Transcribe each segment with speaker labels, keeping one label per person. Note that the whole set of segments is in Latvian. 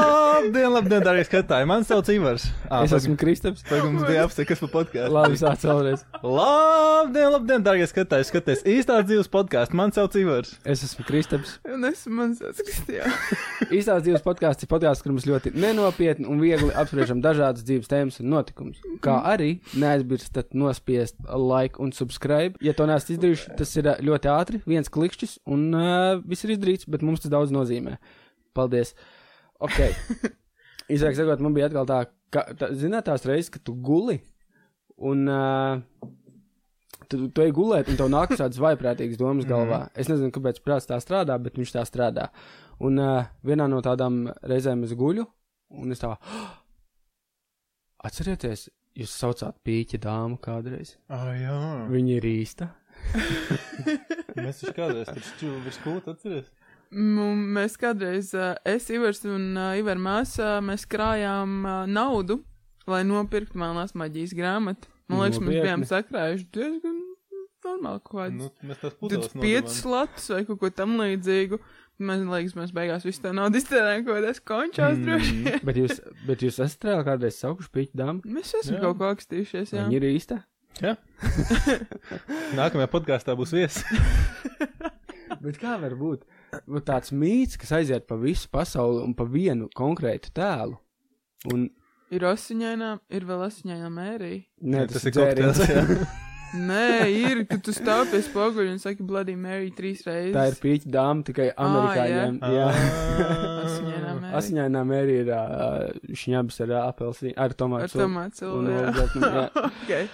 Speaker 1: Labdien, labdien, darbie skatītāji! Mani sauc Ivars. Ā,
Speaker 2: Es esmu Kristaps.
Speaker 1: Tagad mums bija apstākļi, kas par podkāstu.
Speaker 2: Labi, sāc vēlreiz.
Speaker 1: Labdien, labdien, darbie skatītāji! Skaties īstā dzīves podkāstu. Mani sauc Ivars.
Speaker 2: Es esmu Kristaps.
Speaker 3: Un es mazliet skribielu.
Speaker 2: Īstās dzīves podkāsts ir podkāsts, kur mums ļoti nenopietni un viegli apspriežam dažādas dzīves tēmas un notikumus. Kā arī neaizmirstat nospiest like un subscribe. Ja to neesat izdarījuši, tas ir ā, ļoti ātri, viens klikšķis un uh, viss ir izdarīts, bet mums tas daudz nozīmē. Paldies! Ok. Īsāk sakot, man bija atkal tā, ka, tā zināt, tās reizes, kad tu guli un. Uh, tu, tu ej gulēt, un tev nāk tādas vaiprātīgas domas galvā. Es nezinu, kāpēc prāts tā strādā, bet viņš tā strādā. Un uh, vienā no tādām reizēm es guļu, un es tā. "Ah, Atcerieties, jūs saucāt pīķa dāmu kādreiz.
Speaker 1: Ah, jā.
Speaker 2: Viņa ir īsta.
Speaker 1: Mēs taču kādreiz tur šķūvi virs kūta atceries.
Speaker 3: Nu, Mēs kādreiz, ā, es, Ivars un ā, Ivar māsā, mēs krājām ā, naudu, lai nopirktu melnās maģijas grāmatu. Man liekas, mēs
Speaker 2: Nopietni.
Speaker 3: bijām sakrājuši diezgan normāli kaut kāds.
Speaker 1: Nu, mēs tās
Speaker 3: 25 latus vai kaut ko tam līdzīgu. Man liekas, mēs beigās visu to naudu iztērējām kaut kādās končās mm. droši. vien.
Speaker 2: Bet jūs, bet jūs esat reāli kādreiz saukuši pīķa dāmu?
Speaker 3: Mēs esam
Speaker 1: Jā.
Speaker 3: kaut ko akstījušies, jā.
Speaker 2: Viņa ir īsta.
Speaker 1: Jā. Nākamajā podkāstā būs viesis.
Speaker 2: Bet kā var būt? Būt Tāds mīts, kas aiziet pa visu pasauli un pa vienu konkrētu tēlu. Un,
Speaker 3: Ir asiņainā, ir vēl asiņainā mērija.
Speaker 2: nē, tas, tas ir
Speaker 1: kokteils,
Speaker 2: dzēriens.
Speaker 1: jā.
Speaker 3: Nē, ir, ka tu stāvi pie spoguļa un saki Bloody Mary trīs reizes.
Speaker 2: Tā ir pīķa dāma tikai amerikāņiem.
Speaker 1: Ā.
Speaker 2: jā.
Speaker 1: Ah.
Speaker 3: Asiņainā mērija.
Speaker 2: Asiņainā mērī ir ā, šņabs ar ā, apelsīnu, ar tomātu.
Speaker 3: Ar tomātu
Speaker 2: Un
Speaker 3: cilvēku. jā.
Speaker 2: olzotni, jā.
Speaker 3: Okay.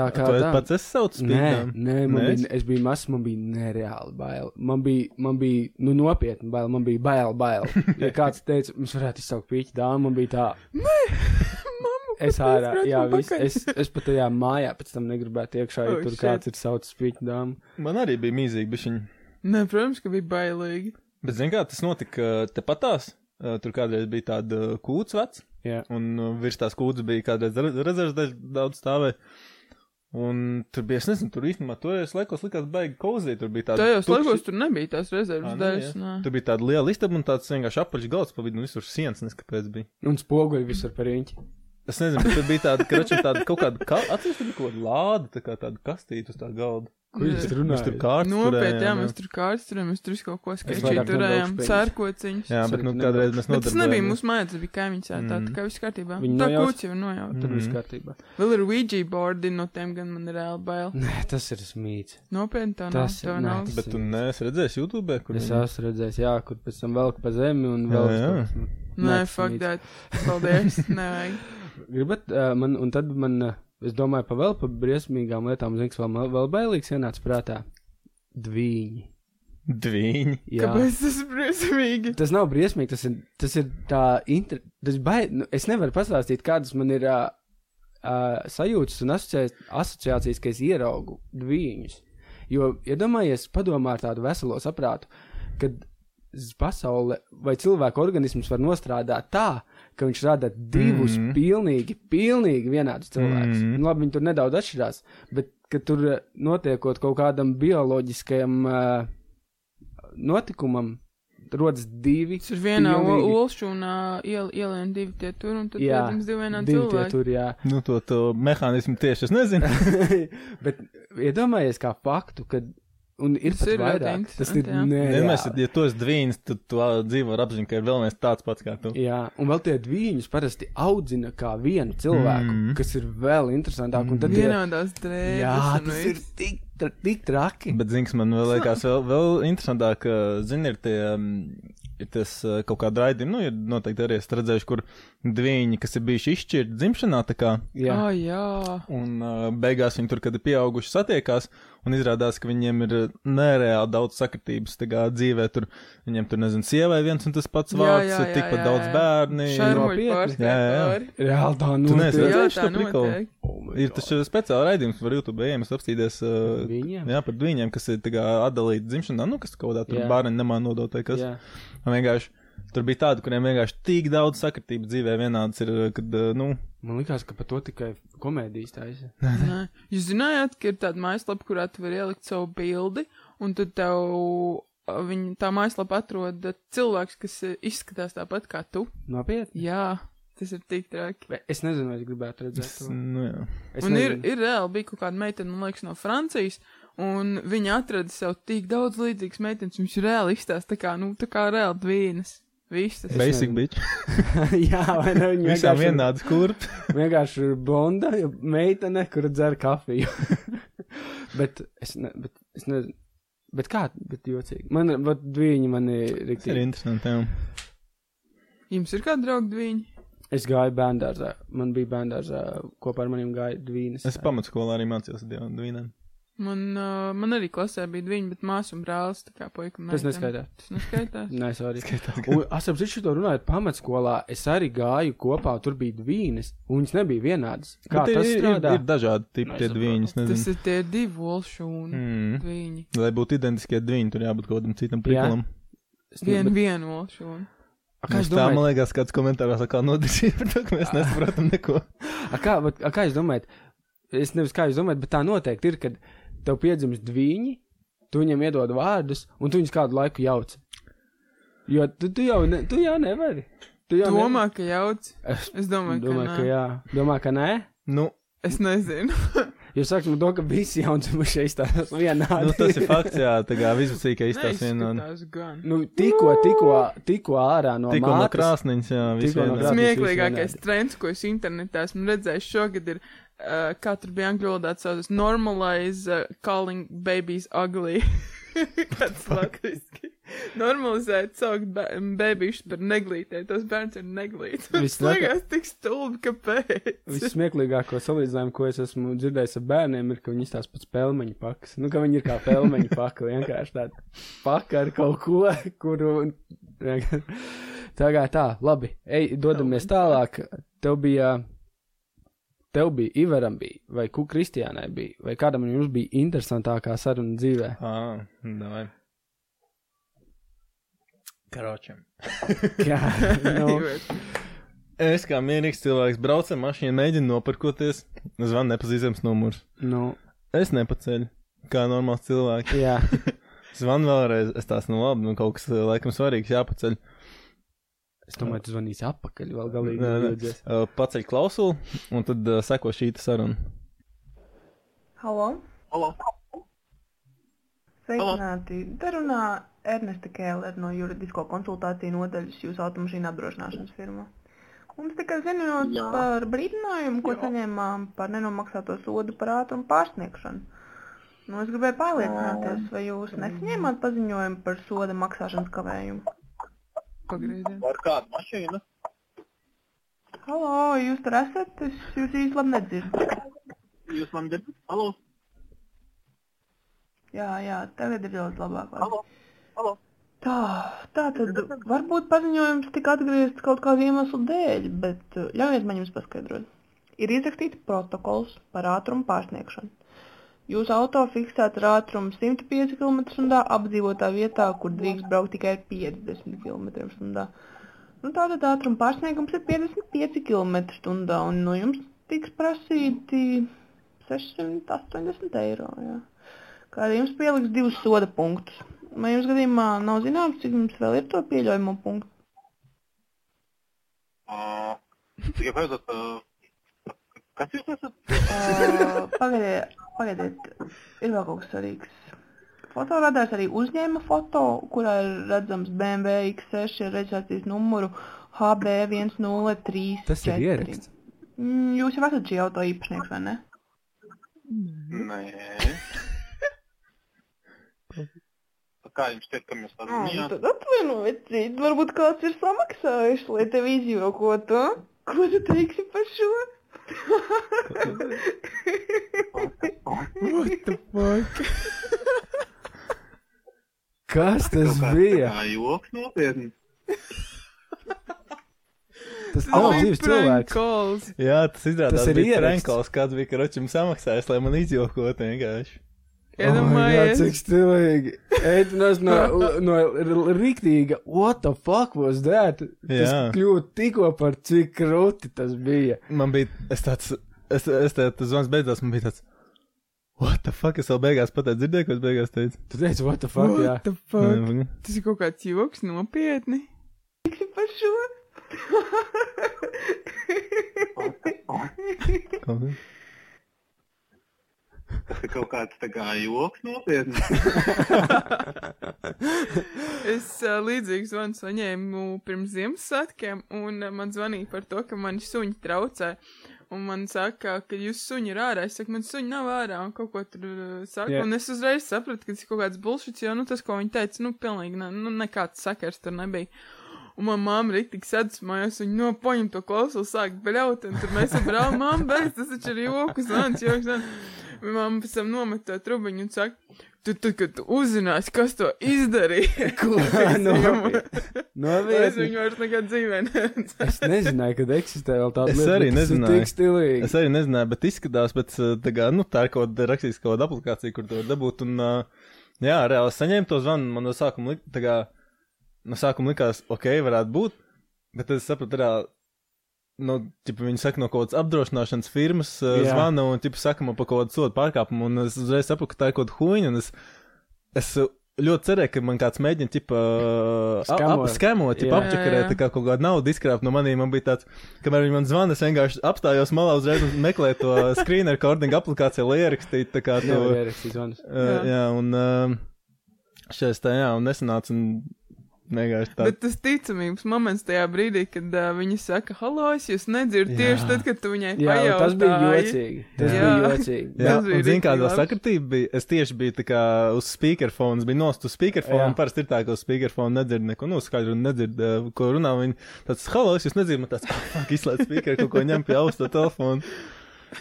Speaker 2: Tā kā
Speaker 1: To
Speaker 2: tā.
Speaker 1: pats es saucu
Speaker 2: Nē,
Speaker 1: spīdām.
Speaker 2: nē, man
Speaker 1: Nē,
Speaker 2: bija, es biju mazs, man bija nereāli bail. Man bija, man bija, nu, nopietni bail, man bija bail, bail. Ja kāds teica, mums varētu izsaukt pīķi dāmu, man bija tā.
Speaker 3: Mamu,
Speaker 2: Es
Speaker 3: kāpēc
Speaker 2: ārā,
Speaker 3: brauc
Speaker 2: jā,
Speaker 3: man
Speaker 2: viss,
Speaker 3: pakaļ?
Speaker 2: es, es pat tajā mājā pēc tam negribētu iekšā, ja
Speaker 3: Oh,
Speaker 2: tur
Speaker 3: shit.
Speaker 2: kāds ir saucis pīķi dāmu.
Speaker 1: Man arī bija mīzīgi bišķiņi.
Speaker 3: Nē, protams, ka bija bailīgi.
Speaker 1: Bet, zini, kā tas notika eh, tepatās? Eh, Tur kādreiz bija tāda eh, kūts vecs,
Speaker 2: Jā.
Speaker 1: un uh, virs tās kūdas bija kādreiz re- rezerves daž- daudz stāvēja. Un tur bija, es nezinu, tur īstenībā toreiz laikos likās baigi kozī. Tur bija tāda
Speaker 3: Tajos
Speaker 1: tukša-
Speaker 3: laikos tur nebija tās rezerves
Speaker 1: Ā, nē,
Speaker 3: daļas.
Speaker 1: jā.
Speaker 3: nē.
Speaker 1: Tur bija tāda liela istaba un tāds vienkārši apaļšgalds pa vidu, un visur sienas, nezinu, kāpēc bija.
Speaker 2: Un spoguļi visur par riņķi.
Speaker 1: Es nezinu, bet tur bija tāda, krača, tāda kaut kāda, ka... atceries, tur bija kaut kāda lāde, tā kā tāda kastīte uz tā galda.
Speaker 2: Ko
Speaker 3: Jā.
Speaker 2: jūs tur
Speaker 1: Mēs tur
Speaker 2: runājat?
Speaker 1: kārtas.
Speaker 3: Nopietni, jā, mēs tur kārstrēm, mēs tur visu kaut ko
Speaker 2: vairāk
Speaker 3: skribi
Speaker 2: nebraukšu
Speaker 3: turējām,
Speaker 2: pēc.
Speaker 3: sērkociņus.
Speaker 1: Jā, bet,
Speaker 2: Sorry,
Speaker 1: nu,
Speaker 2: ka
Speaker 1: kādreiz mēs
Speaker 3: Bet tas nebija
Speaker 1: nodarbojāmies.
Speaker 3: mūsu mājās, tas bija kaimiņš, tā, tā
Speaker 1: Mhm.
Speaker 3: kā viss kārtībā.
Speaker 2: Mm. Viņi
Speaker 3: Tā
Speaker 2: nojauc?
Speaker 3: kūts jau ir
Speaker 2: Tur
Speaker 3: nojauta.
Speaker 2: viss
Speaker 1: Mhm.
Speaker 2: kārtībā.
Speaker 3: Vēl ir Ouija bordi, no tiem gan man ir reāli bail.
Speaker 2: Nē, tas ir smīts.
Speaker 3: Nopietni, tā
Speaker 2: Mm.
Speaker 3: nav.
Speaker 2: Tas-
Speaker 3: Tā
Speaker 2: nē,
Speaker 3: nav.
Speaker 2: tas-
Speaker 1: Bet tu neesi redzējis YouTube, kur
Speaker 2: Es
Speaker 1: viņi-
Speaker 2: esmu redzējis, jā, kur pēc tam velk pa zemi
Speaker 1: Jā,
Speaker 2: un vēl.
Speaker 1: jā.
Speaker 2: kaut kas.
Speaker 3: Nē,
Speaker 2: tas
Speaker 3: fuck
Speaker 2: mīts.
Speaker 3: that. Paldies. Nevajag.
Speaker 2: Gribat, ā, man, un tad man, ā, es domāju, pa vēl pa briesmīgām lietām, zinu, kas vēl, man vēl bailīgs ienāca prātā. Dvīņi.
Speaker 1: Dviņi.
Speaker 2: Jā.
Speaker 3: Kāpēc tas ir briesmīgi?
Speaker 2: Tas nav briesmīgi, tas ir, tas ir tā, inter... tas baid... nu, es nevaru pastāstīt, kādas man ir uh, uh, sajūtas un asociā- asociācijas, ka es ieraugu dviņus. Jo, iedomājies, ja padomā ar tādu veselo saprātu, kad z- pasaule vai cilvēka organisms var nostrādāt tā, ka viņš rada divus mm
Speaker 1: Mhm.
Speaker 2: -hmm. pilnīgi, pilnīgi vienādus cilvēkus. Mm
Speaker 1: Mhm.
Speaker 2: -hmm. Labi, viņi tur nedaudz atšķirās, bet kad tur eh, notiekot kaut kādam bioloģiskajam uh, notikumam, rodas divi.
Speaker 3: Tas ir vienā
Speaker 2: pilnīgi-
Speaker 3: olšūnā ielien divi tie tur un tad,
Speaker 2: Jā,
Speaker 3: protams, divi vienā
Speaker 2: divi tie
Speaker 3: cilvēkā.
Speaker 2: tur, jā.
Speaker 1: Nu, to, to mehānismu tieši es nezinu.
Speaker 2: Bet iedomājies kā faktu, ka. Un ir
Speaker 3: Tas
Speaker 2: tas
Speaker 3: ir
Speaker 2: ir
Speaker 3: ļoti
Speaker 2: vairāk. Tas ir
Speaker 3: interesanti, jā.
Speaker 1: Vienmēr,
Speaker 2: nereāli.
Speaker 1: ja tu esi dvīns, tad tu ā, dzīvo ar apziņu, ka ir vēl viens tāds pats kā tu.
Speaker 2: Jā, un vēl tie diviņus parasti audzina kā vienu cilvēku, mm.
Speaker 1: Mhm.
Speaker 2: kas ir vēl interesantāk. un tad tie-
Speaker 3: Vienādās drēbēs.
Speaker 2: Jā,
Speaker 3: un
Speaker 2: tas
Speaker 3: viss.
Speaker 2: ir tik, tra, tik traki.
Speaker 1: Bet, zini, kas man vēl liekas, vēl, vēl interesantāk, ā, zini, ir tie. mm, Ir tas ā, kaut kāda raidījuma, nu, ir noteikti arī esat redzējuši, kur divi, kas ir bijuši izšķirti dzimšanā, tā kā,
Speaker 2: Jā,
Speaker 3: Ā, jā.
Speaker 1: un uh, beigās viņi tur, kad ir pieauguši, satiekās, un izrādās, ka viņiem ir ā, nereāli daudz sakritības, tā kā dzīvē tur, viņiem tur, nezinu, sievai viens un tas pats
Speaker 3: Jā,
Speaker 1: vārds,
Speaker 3: jā,
Speaker 1: ir
Speaker 3: jā,
Speaker 1: tikpat
Speaker 3: jā,
Speaker 1: daudz
Speaker 3: jā.
Speaker 1: bērni.
Speaker 3: Šarmuļi
Speaker 2: nopietni.
Speaker 1: Jā, jā, jā.
Speaker 3: pārspēj.
Speaker 2: reāli tā
Speaker 1: Tu neesi
Speaker 2: notiek.
Speaker 3: Jā,
Speaker 1: redzējuši
Speaker 3: tā
Speaker 1: to prikalu?
Speaker 3: notiek.
Speaker 2: Oh my
Speaker 1: Ir
Speaker 2: God.
Speaker 1: taču speciāli raidījums par YouTube, ejam, apstīties. Uh,
Speaker 2: Viņiem?
Speaker 1: jā, par dviņiem, kas ir tā kā atdalīti dzimšanā, nu, kas kaut kādā tur
Speaker 2: Jā.
Speaker 1: bērnu nemā nodota vai kas.
Speaker 2: Jā.
Speaker 1: Un vienkārši tur bija tādi, kuriem vienkārši tik daudz sakritību dzīvē vienāds ir, kad, uh, nu,
Speaker 2: Man liekas, ka par to tikai komēdijas taisa.
Speaker 3: Nē. Jūs zinājāt, ka ir tāda mājaslapa, kurā tu vari ielikt savu bildi, un tad tev viņa tā mājaslapa atrod cilvēks, kas eh, izskatās tāpat kā tu.
Speaker 2: Nopietni.
Speaker 3: Jā, tas ir tik traki.
Speaker 2: Vai- Es nezinu, vai es gribētu redzēt
Speaker 1: Es,
Speaker 2: to.
Speaker 1: nu, jā.
Speaker 2: Es
Speaker 3: Un ir,
Speaker 2: nezinu.
Speaker 3: ir reāli bija kaut kāda meitene, man liekas, no Francijas. Un viņa atrada sev tik daudz līdzīgas meitenes, viņas reāli izstās tā kā, nu, tā kā reāli dvīnas. Visas.
Speaker 2: Bet-
Speaker 1: Basic
Speaker 2: nezinu.
Speaker 1: bitch.
Speaker 2: Jā, vai ne? Viņa
Speaker 1: Visām
Speaker 2: vienkārši ir-
Speaker 1: vienādas kurpes.
Speaker 2: Vienkārši ir blonda meitene, kur dzer kafiju. bet es nezinu, bet, es ne, bet kā, bet jocīgi. Man, bet viņi man ir
Speaker 1: Tas ir
Speaker 2: rīktīgi.
Speaker 1: interesanti. Jā.
Speaker 3: Jums ir kāda drauga dvīņa?
Speaker 2: Es gāju bērndārzā, man bija bērndārzā, kopā ar maniem gāja divīnas.
Speaker 1: Es pamatskolā arī mācījos ar divām divām.
Speaker 3: Man, uh, man arī klasē bija dvīņa, bet māsu un brālis tā kā puika. un
Speaker 2: Tas
Speaker 3: meitene.
Speaker 2: neskaidrā.
Speaker 3: Tas neskaitās.
Speaker 2: Nē, es arī. Un, Es saprotu, šo runāju pamatskolā. Es arī gāju kopā, tur bija divas, un viņas nebija vienādas. Kā
Speaker 1: Bet
Speaker 2: tas
Speaker 1: ir,
Speaker 2: strādā?
Speaker 1: Ir, ir dažādi tipi
Speaker 2: Nu,
Speaker 1: tie
Speaker 2: es
Speaker 1: divi. Es
Speaker 3: Tas
Speaker 1: nezinu.
Speaker 3: ir tie divi olšūni.
Speaker 1: Mm.
Speaker 3: Dvīņi.
Speaker 1: Lai būtu identiskie divi, tur jābūt kaut kādam citam prikalam.
Speaker 2: Es ne-
Speaker 3: Vienu,
Speaker 2: bet-
Speaker 3: vienu olšūnu.
Speaker 2: a, kā
Speaker 1: Mums
Speaker 2: es
Speaker 1: Tā, man
Speaker 2: domāju, Ah.
Speaker 1: liekas, kāds komentārs atkal nodarīja par to, ka mēs nesaprotam neko.
Speaker 2: a, kā, bet, a, kā jūs domājat? Es nevis kā jūs domājat, bet tā noteikti ir, kad tev piedzimst divi, tu viņiem iedod vārdus, un tu viņus kādu laiku jauc. Jo tu, tu jau, ne, tu jau nevari. Tu jau
Speaker 3: Domā, ka jauc.
Speaker 2: nevari. Es
Speaker 3: Es domāju,
Speaker 2: domāju, ka
Speaker 3: nē.
Speaker 2: jā. Domā, ka nē.
Speaker 1: Nu,
Speaker 3: Es nezinu.
Speaker 2: Jūs sakat, man to, ka visi jaundzimušie izstāstās vienādi.
Speaker 1: nu, tas ir fakts, jā, tā kā visas sīkā iztās vienādi.
Speaker 3: Tas gan.
Speaker 2: Nu, tikko, tikko, tikko ārā no
Speaker 1: nu, Tikko no
Speaker 2: mātes.
Speaker 1: krāsniņas, jā, viss
Speaker 2: Tikko no
Speaker 1: vienādi.
Speaker 2: krāsniņas.
Speaker 3: Smieklīgākais
Speaker 2: vienādi.
Speaker 3: trends, ko es internetā esmu redzējis šogad, ir, uh, kā tur bija angļu valodā saucās, normalize uh, calling babies ugly. Kāds latviski. Normalizēt saukt bērnu par neglītēm. Tas bērns ir neglīts. Tas
Speaker 2: Vislabāk-
Speaker 3: liekas tik stulbi, kāpēc.
Speaker 2: Vissmieklīgāko salīdzinājumu, ko es esmu dzirdējis ar bērniem, ir, ka viņi izstāsta pēc pelmeņa pakas. Nu, ka viņi ir kā pelmeņa paka, vienkārši tāda paka ar kaut ko, kuru. vienkārši- Tā kā tā, labi, ej, dodamies tālāk. Tev bija, tev bija Ivaram bija, vai Ku Kristiānai bija, vai kādam no jums bija interesantākā saruna dzīvē?
Speaker 1: Ā, davai. Karočam.
Speaker 2: Jā, nu,
Speaker 1: Es kā mierīgs cilvēks braucu ar mašīnu, mēģinu nopirkoties. Zvan nepazīstams numurs.
Speaker 2: nu
Speaker 1: Es nepaceļu, kā normāls cilvēks.
Speaker 2: jā.
Speaker 1: Zvan vēlreiz, es tās nu labi, nu kaut kas eh, laikam svarīgs jāpaceļ.
Speaker 2: Es domāju, tu zvanīsi apakaļ vēl galīgi.
Speaker 1: Nē, nē.
Speaker 2: nevajadzēs.
Speaker 1: Eh, Paceļ klausuli, un tad eh, seko šī te saruna.
Speaker 4: Halo!
Speaker 5: Halo.
Speaker 4: Sveicināti! Te runā Ernesta Kēlera no juridisko konsultāciju nodaļas jūsu automašīnu apdrošināšanas firmā. Mums tikai ziņots
Speaker 5: Jā.
Speaker 4: par brīdinājumu, ko
Speaker 5: Jā.
Speaker 4: saņēmām par nenomaksāto sodu par ātrumu pārsniegšanu. Nu, es gribēju pārliecināties, vai jūs nesaņēmāt paziņojumu par soda maksāšanas kavējumu.
Speaker 3: Pagriezies.
Speaker 5: Ar kādu mašīnu?
Speaker 4: Halo, jūs tur esat? Es jūs īsti labi nedzirdu.
Speaker 5: Jūs man dzirdat? Halo.
Speaker 4: Jā, jā, tagad ir daudz labāk. vārds.
Speaker 5: Halo. Halo.
Speaker 4: Tā, tā tad varbūt paziņojums tika atgriezts kaut kādu iemeslu dēļ, bet uh, ļaujiet man jums paskaidrot. Ir izrakstīts protokols par ātrumu pārsniegšanu. Jūsu auto fiksēta ar ātrumu 105 km/h apdzīvotā vietā, kur drīkst braukt tikai ar 50 km/h. Nu, tātad ātruma pārsniegums ir 55 km/h un no jums tiks prasīti 680 eiro. Jā. Kāda jums pieliks divus soda punktus? Vai jums gadījumā nav zināms, cik jums vēl ir to pieļaujamo punktu?
Speaker 5: Ā, Tikai pēdējais. ā, Kas jūs esat?
Speaker 4: Ā, Pagaidiet, pagaidiet, ir vēl kaut kas svarīgs. Fotoradars arī uzņēma foto, kurā ir redzams BMW X6 ar reģistrācijas numuru HB1034.
Speaker 2: Tas ir ieraksts.
Speaker 4: Mm, Jūs jau esat šī auto īpašnieks, vai ne?
Speaker 5: Nē. Kā jums šķiet, ka
Speaker 4: Ā, nu
Speaker 5: mēs sarunājāmies?
Speaker 4: Tad atvainojiet, cīt, varbūt kāds ir samaksājis, lai tev izjokotu. a? Ko tu teiksi par šo?
Speaker 2: Kas tas bija?
Speaker 5: Kā joks nopietni.
Speaker 2: Tas nav
Speaker 3: bija
Speaker 2: dzīves
Speaker 3: prank
Speaker 2: cilvēks.
Speaker 3: calls.
Speaker 1: Jā, tas izrādās,
Speaker 2: Tas ir
Speaker 1: tas bija
Speaker 2: ieraksts.
Speaker 1: Renkals, kāds bija karočam samaksājis, lai man izjokot vienkārši.
Speaker 2: jā,
Speaker 3: Iedomājies.
Speaker 2: Oh cik stilīgi. Eitinās no, no r- rīktīga, what the fuck was that? Tas
Speaker 1: Jā.
Speaker 2: kļūtu tikko par cik krūti tas bija.
Speaker 1: Man bija, es tāds, es, es tāds zvans beidzās, man bija tāds, What the fuck? Es vēl beigās pat dzirdēju, ko es beigās teicu.
Speaker 2: Tu teici, what the fuck, jā.
Speaker 3: What the
Speaker 2: Mm.
Speaker 3: fuck? Tas ir kaut kāds joks, nopietni.
Speaker 4: Par šo?
Speaker 1: Kaut-
Speaker 5: Tas ir kaut kāds tā kā joks nopietni.
Speaker 3: Es uh, līdzīgu zvanu saņēmu pirms Ziemassvētkiem, un uh, man zvanīja par to, ka mani suņi traucē. Un man saka, ka jūs suņi ir ārā. Es saku, man suņi nav ārā, un kaut ko tur uh, saka.
Speaker 2: Jā.
Speaker 3: Yeah. Un es uzreiz sapratu, ka tas ir kaut kāds bulšits, jo nu, tas, ko viņi teica, nu, pilnīgi ne, nu, nekāds sakars tur nebija. Un manā māte ir tik sadusmājās, viņa nopoņem to klausuli, sāk bļaut, un tur mēs brāl, māte, beidz, tas taču ir joks, zvans, joks, zvans. Māte pēc tam nomet to trubiņu un saka, tu, tu, kad tu uzzināsi, kas to izdarīja, ko
Speaker 2: Nu,
Speaker 3: Es
Speaker 2: Novietni.
Speaker 3: viņu vairs nekad dzīvē neredzu.
Speaker 2: Es nezināju, kad eksistē vēl tāda
Speaker 1: Es
Speaker 2: lieta.
Speaker 1: arī
Speaker 2: bet tas ir
Speaker 1: nezināju.
Speaker 2: Tik stilīgi.
Speaker 1: Es arī nezināju, bet izskatās, bet eh, tā kā, nu, tā ir kaut kāda rakstīs kaut kāda aplikācija, kur to var dabūt. Un, uh, jā, reāli es saņēmu to zvanu, man no sākuma, lik, tā kā, no sākuma likās, ok, varētu būt, bet tad es sapratu, reāli, nu, tipa, viņi saka no kaut kādas apdrošināšanas firmas uh,
Speaker 2: Jā.
Speaker 1: zvana un, tipa, saka man par kaut kādu sodu pārkāpumu, un es uzreiz sapratu, ka tā ir kaut kāda huīņa, un es, es eh, ļoti cerēju, ka man kāds mēģina, tipa,
Speaker 2: Skamot.
Speaker 1: apskamot,
Speaker 2: Jā.
Speaker 1: tipa, apčakarēt, tā kā kaut kāda nauda izkrāpt no maniem. Man bija tāds, kamēr viņi man zvana, es vienkārši apstājos malā uzreiz un meklēju to screen recording aplikāciju, lai ierakstītu tā kā to.
Speaker 2: Nevar ierakstīt zvanus.
Speaker 1: Uh, jā, un uh, šeit tā, jā, un nesanāca un vienkārši tā.
Speaker 3: Bet tas ticamības moments tajā brīdī, kad uh, viņi saka, halo, es jūs nedzirdu tieši tad, kad tu viņai
Speaker 2: Jā, un
Speaker 3: pajautāji.
Speaker 2: tas bija jocīgi. Tas
Speaker 3: Jā.
Speaker 2: bija jocīgi.
Speaker 1: Jā,
Speaker 3: tas bija
Speaker 1: un zini,
Speaker 3: rīktīgi
Speaker 1: kāda
Speaker 3: labs.
Speaker 1: sakritība bija. Es tieši biju tā kā uz speakerfona, bija nost uz speakerfona,
Speaker 2: Jā.
Speaker 1: un parasti ir tā, ka uz speakerfona nedzird neko, nu, skaļi un nedzird, eh, ko runā viņi. Tāds, halo, es jūs nedzirdu, man tāds, fuck, izslēdz speaker, kaut ko ņem pie austa telefonu.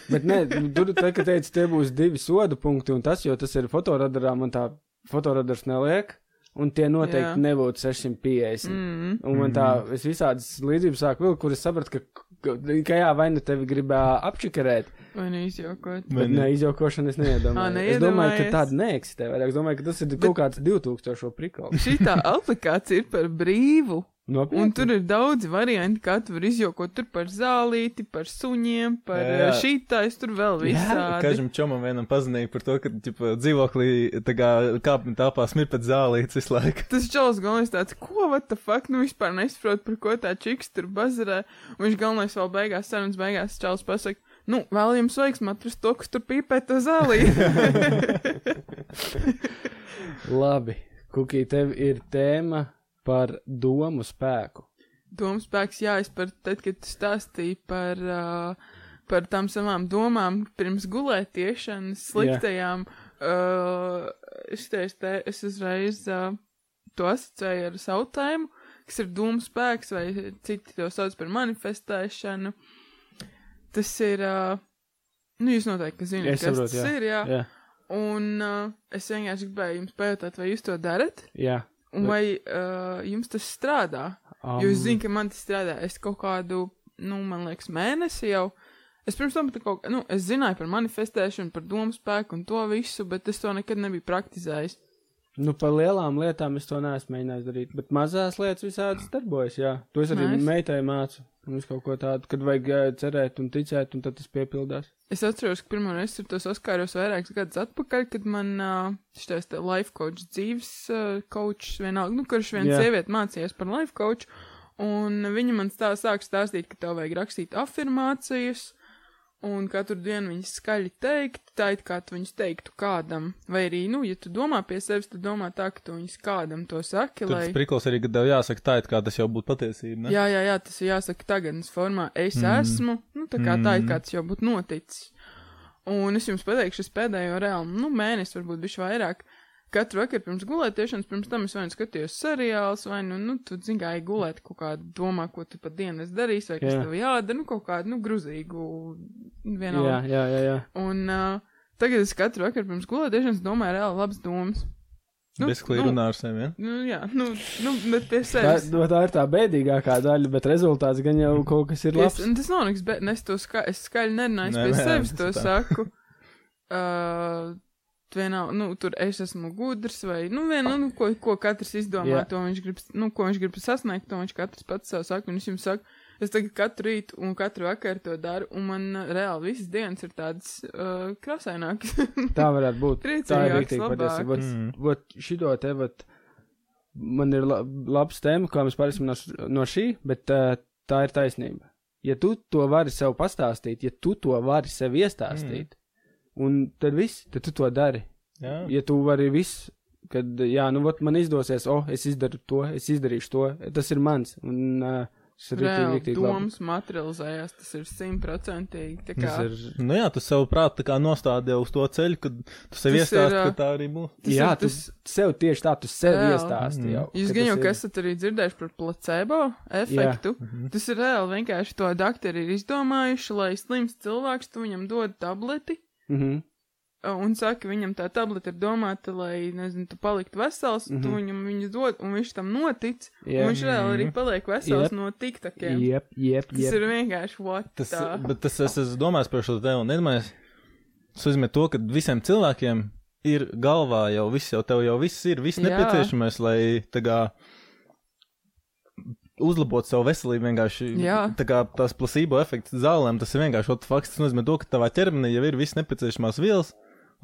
Speaker 2: Bet nē, nu, tur tā kā teica, te būs divi soda punkti, un tas, jo tas ir fotoradarā, man tā fotoradars neliek, un tie noteikti
Speaker 3: Jā.
Speaker 2: nebūtu 650.
Speaker 3: Mm.
Speaker 2: Un man tā, es visādas līdzības sāku vilkt, kur es sapratu, ka, ka, ka jā, vai nu tevi gribēja apčakarēt,
Speaker 3: Vai neizjokot?
Speaker 2: bet
Speaker 1: Vai ne?
Speaker 2: ne izjaukošana es
Speaker 3: Ā,
Speaker 2: neiedomājos. Es domāju, ka
Speaker 3: neiedomājies.
Speaker 2: tāda neeksistē vairāk. Es domāju, ka tas ir kaut kāds 2000 prikals.
Speaker 3: Šī tā aplikācija ir par brīvu. Un tur ir daudz varianti, kā tu vari izjokot tur par zālīti, par suņiem, par
Speaker 1: Jā, jā.
Speaker 3: šī tā, es tur vēl visādi.
Speaker 1: Kažam čomam vienam pazinīja par to, ka ģipa, dzīvoklī tā kā kāpņu tāpā smir pēc zālītes visu laiku.
Speaker 3: Tas čels galvenais tāds, ko, what the fuck, nu vispār nesaprot, par ko tā čiks tur bazarē. Un viņš galvenais vēl beigās, sarunas beigās čels pasaka, nu, vēl jums veiksmi atrast to, kas tur pīpē to zālīti.
Speaker 2: Labi, Kukī, tev ir tēma par domu spēku.
Speaker 3: Domu spēks, jā, es par tad, kad tu stāstīji par, uh, par tām savām domām pirms gulētiešanas sliktajām, uh, es teicu, te, es uzreiz uh, to asociēju ar savu tēmu, kas ir domu spēks, vai citi to sauc par manifestēšanu. Tas ir, uh, nu, jūs noteikti zināt,
Speaker 2: Es
Speaker 3: kas
Speaker 2: saprotu,
Speaker 3: tas
Speaker 2: jā.
Speaker 3: ir, jā. jā.
Speaker 2: Jā,
Speaker 3: Un uh, es vienkārši gribēju jums pajautāt, vai jūs to darat,
Speaker 2: jā.
Speaker 3: un vai uh, jums tas strādā.
Speaker 2: Um,
Speaker 3: Jūs zināt, ka man tas strādā. Es kaut kādu, nu, man liekas, mēnesi jau. Es pirms tam pat kaut kā, nu, es zināju par manifestēšanu, par domu spēku un to visu, bet es to nekad nebiju praktizējis.
Speaker 2: Nu, par lielām lietām es to neesmu mēģinājis darīt, bet mazās lietas visādas darbojas, jā. To es arī
Speaker 3: Nice.
Speaker 2: meitai mācu. Mums kaut ko tādu, kad vajag eh, cerēt un ticēt, un tad tas piepildās.
Speaker 3: Es atceros, ka pirmo reizi ar to saskāros vairākus gadus atpakaļ, kad man uh, šis te life coach, dzīves uh, coach, vienalga, nu, kurš viena
Speaker 2: Jā.
Speaker 3: yeah. sieviete mācījās par life coach, un viņa man stā, sāk stāstīt, ka tev vajag rakstīt afirmācijas, un katru dienu viņas skaļi teikt, tā it kā tu viņas teiktu kādam, vai arī, nu, ja tu domā pie sevis, tad domā tā, ka tu viņas kādam to saki,
Speaker 1: Tur
Speaker 3: lai.
Speaker 1: tas priklis arī, ka tev jāsaka tā, it kā tas jau būtu patiesība. Ne?
Speaker 3: Jā, jā, jā, tas ir jāsaka tagadnes formā. Es mm. esmu, nu, tā kā tā ir kāds jau būtu noticis. Un es jums pateikšu, es pēdējo reāli, nu, mēnesi, varbūt bišķi vairāk. Katru vakaru pirms gulētiešanas, pirms tam es vai nu skatījos seriālus, vai nu, nu tu zini, kā ir gulēt, kaut kādu domā, ko tu pa dienu es darīšu, vai kas
Speaker 2: Jā.
Speaker 3: tev jādara, nu, kaut kādu, nu, gruzīgu, vienalga.
Speaker 2: Jā, jā, jā. jā.
Speaker 3: Un uh, tagad es katru vakaru pirms gulētiešanas domāju reāli labas domas.
Speaker 1: Nu, Bezklīgi nu, runā ar sevi. Ja?
Speaker 3: Nu, jā, nu, nu, bet pie
Speaker 2: Tā,
Speaker 3: sevis.
Speaker 2: no, tā ir tā bēdīgākā daļa, bet rezultāts gan jau kaut kas ir labs.
Speaker 3: Es, un tas nav nekas, bet es to ska es skaļi nerunāju,
Speaker 1: Nē,
Speaker 3: es pie
Speaker 1: nē,
Speaker 3: sevis
Speaker 1: tas
Speaker 3: to
Speaker 1: tā.
Speaker 3: saku. Uh, vienalga, nu, tur es esmu gudrs, vai, nu, vien, nu, nu, ko, ko katrs izdomā,
Speaker 2: Jā.
Speaker 3: to viņš grib, nu, ko viņš grib sasniegt, to viņš katrs pats sev saka, un es jums saku, Es tagad katru rītu un katru vakaru to daru, un man uh, reāli visas dienas ir tādas uh, krāsainākas.
Speaker 2: Tā varētu būt. Tā ir
Speaker 3: Priecīgāks,
Speaker 2: rīktīgi
Speaker 3: labāk.
Speaker 2: patiesība.
Speaker 1: Mm.
Speaker 2: Vot šito te, vot, man ir la- labs tēma, kā mēs pārēsim no, š- no šī, bet uh, tā ir taisnība. Ja tu to vari sev pastāstīt, ja tu to vari sev iestāstīt, mm. un tad viss, tad tu to dari.
Speaker 1: Jā,
Speaker 2: Ja tu vari viss, kad, jā, nu, vot man izdosies, oh, es izdaru to, es izdarīšu to, tas ir mans. Un, uh, tas ir rīktīgi,
Speaker 3: Reāli
Speaker 2: rīktīgi labi.
Speaker 3: domas materializējās, tas ir simtprocentīgi. tā
Speaker 2: Tas
Speaker 3: kā-
Speaker 2: ir
Speaker 1: nu jā tu sev prātā kā nostādīji uz to ceļu, kad tu sev
Speaker 3: Tas ir,
Speaker 1: iestāsti,
Speaker 3: ā,
Speaker 1: ka tā arī būs.
Speaker 3: Tas
Speaker 2: Jā,
Speaker 3: ir
Speaker 2: tas
Speaker 3: tas-
Speaker 2: sev tieši tā, tu sev
Speaker 3: Jā.
Speaker 2: iestāsti jau.
Speaker 3: Jūs
Speaker 2: ka
Speaker 3: gan jau
Speaker 2: tas ir-
Speaker 3: esat arī dzirdējuši par placebo efektu.
Speaker 1: Mhm.
Speaker 3: Jā. Tas ir reāli vienkārši to doktori ir izdomājuši, lai slims cilvēks tu viņam dod tableti
Speaker 2: Mhm.
Speaker 3: uh, un saka, viņam tā tableta ir domāta, lai, nezinu, tu paliktu vesels, mm -hmm. tu viņam viņu dod, un viņš tam notic,
Speaker 2: Jā.
Speaker 3: yeah. un viņš reāli arī paliek vesels
Speaker 2: Jep.
Speaker 3: yep. no tiktakiem. Yep.
Speaker 2: Jep, jep,
Speaker 3: Tas
Speaker 2: jep.
Speaker 3: yep. ir vienkārši what
Speaker 1: Tas,
Speaker 3: tā.
Speaker 1: bet tas es esmu domājis par šo tēmu. Nedomājies, tas nozīmē to, ka visiem cilvēkiem ir galvā jau viss, jau tev jau viss ir, viss
Speaker 3: Jā.
Speaker 1: nepieciešamais, lai tā kā uzlabot savu veselību vienkārši.
Speaker 3: Jā.
Speaker 1: Tā kā tās plasībo efekts zālēm, tas ir vienkārši otrs fakts. Tas nozīmē to, ka tavā ķermenī jau ir viss nepieciešamās vielas,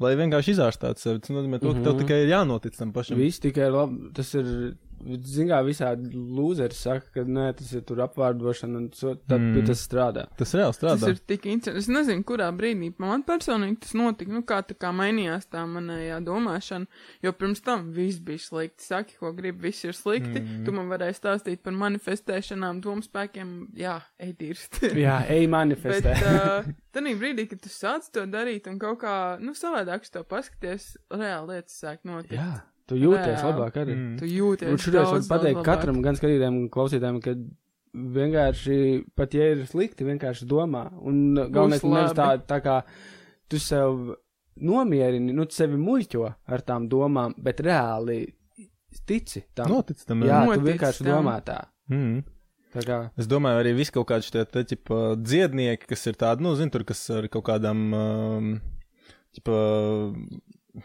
Speaker 1: lai vienkārši izārstētu sevi. Tas nozīmē to, ka
Speaker 3: Mhm.
Speaker 1: tev tikai ir jānotic tam pašam.
Speaker 2: Viss tikai labi. Tas ir, zināmā mērā, visādi lūzeri saka, ka nē, tas ir tur apvārdošana un so, tad
Speaker 1: Mm.
Speaker 2: mm. tas strādā.
Speaker 1: Tas reāli
Speaker 3: Tas
Speaker 1: strādā.
Speaker 3: ir tik interesanti. Es nezinu, kurā brīdī man personīgi tas notika. Nu, kā tā kā mainījās tā manējā domāšana, jo pirms tam viss bija slikti. Saki, ko gribi, viss ir slikti.
Speaker 2: Mhm.
Speaker 3: Mm. Tu man varēji stāstīt par manifestēšanām, domspēkiem. Jā, ej, dirst.
Speaker 2: Jā, ej,
Speaker 3: Bet
Speaker 2: manifestē.
Speaker 3: uh, tad brīdī, kad tu sāc to darīt un kaut kā nu, savādāk uz to paskaties, reāli lietas sāk notikt.
Speaker 2: Jā, tu jūties
Speaker 3: Jā.
Speaker 2: labāk arī. Mm.
Speaker 1: Mm.
Speaker 3: Tu jūties.
Speaker 2: Un šodien es varu
Speaker 3: daudz,
Speaker 2: pateikt
Speaker 3: daudz labāk.
Speaker 2: katram, gan skatītājiem, gan klausītājiem, ka vienkārši, pat ja ir slikti, vienkārši domā. Un galvenais, ka nevis tā, tā kā tu sev nomierini, nu, tu sevi muļķo ar tām domām, bet reāli tici tam.
Speaker 1: Notic tam.
Speaker 2: jā,
Speaker 1: jā.
Speaker 2: tu
Speaker 3: Notic
Speaker 2: vienkārši
Speaker 3: tam.
Speaker 2: domā tā.
Speaker 1: Mm.
Speaker 2: tā kā,
Speaker 1: Es domāju, arī viss kaut kādi šie te tipa dziednieki, kas ir tādi, nu, zinu, tur, kas ar kaut kādām, um, tipa,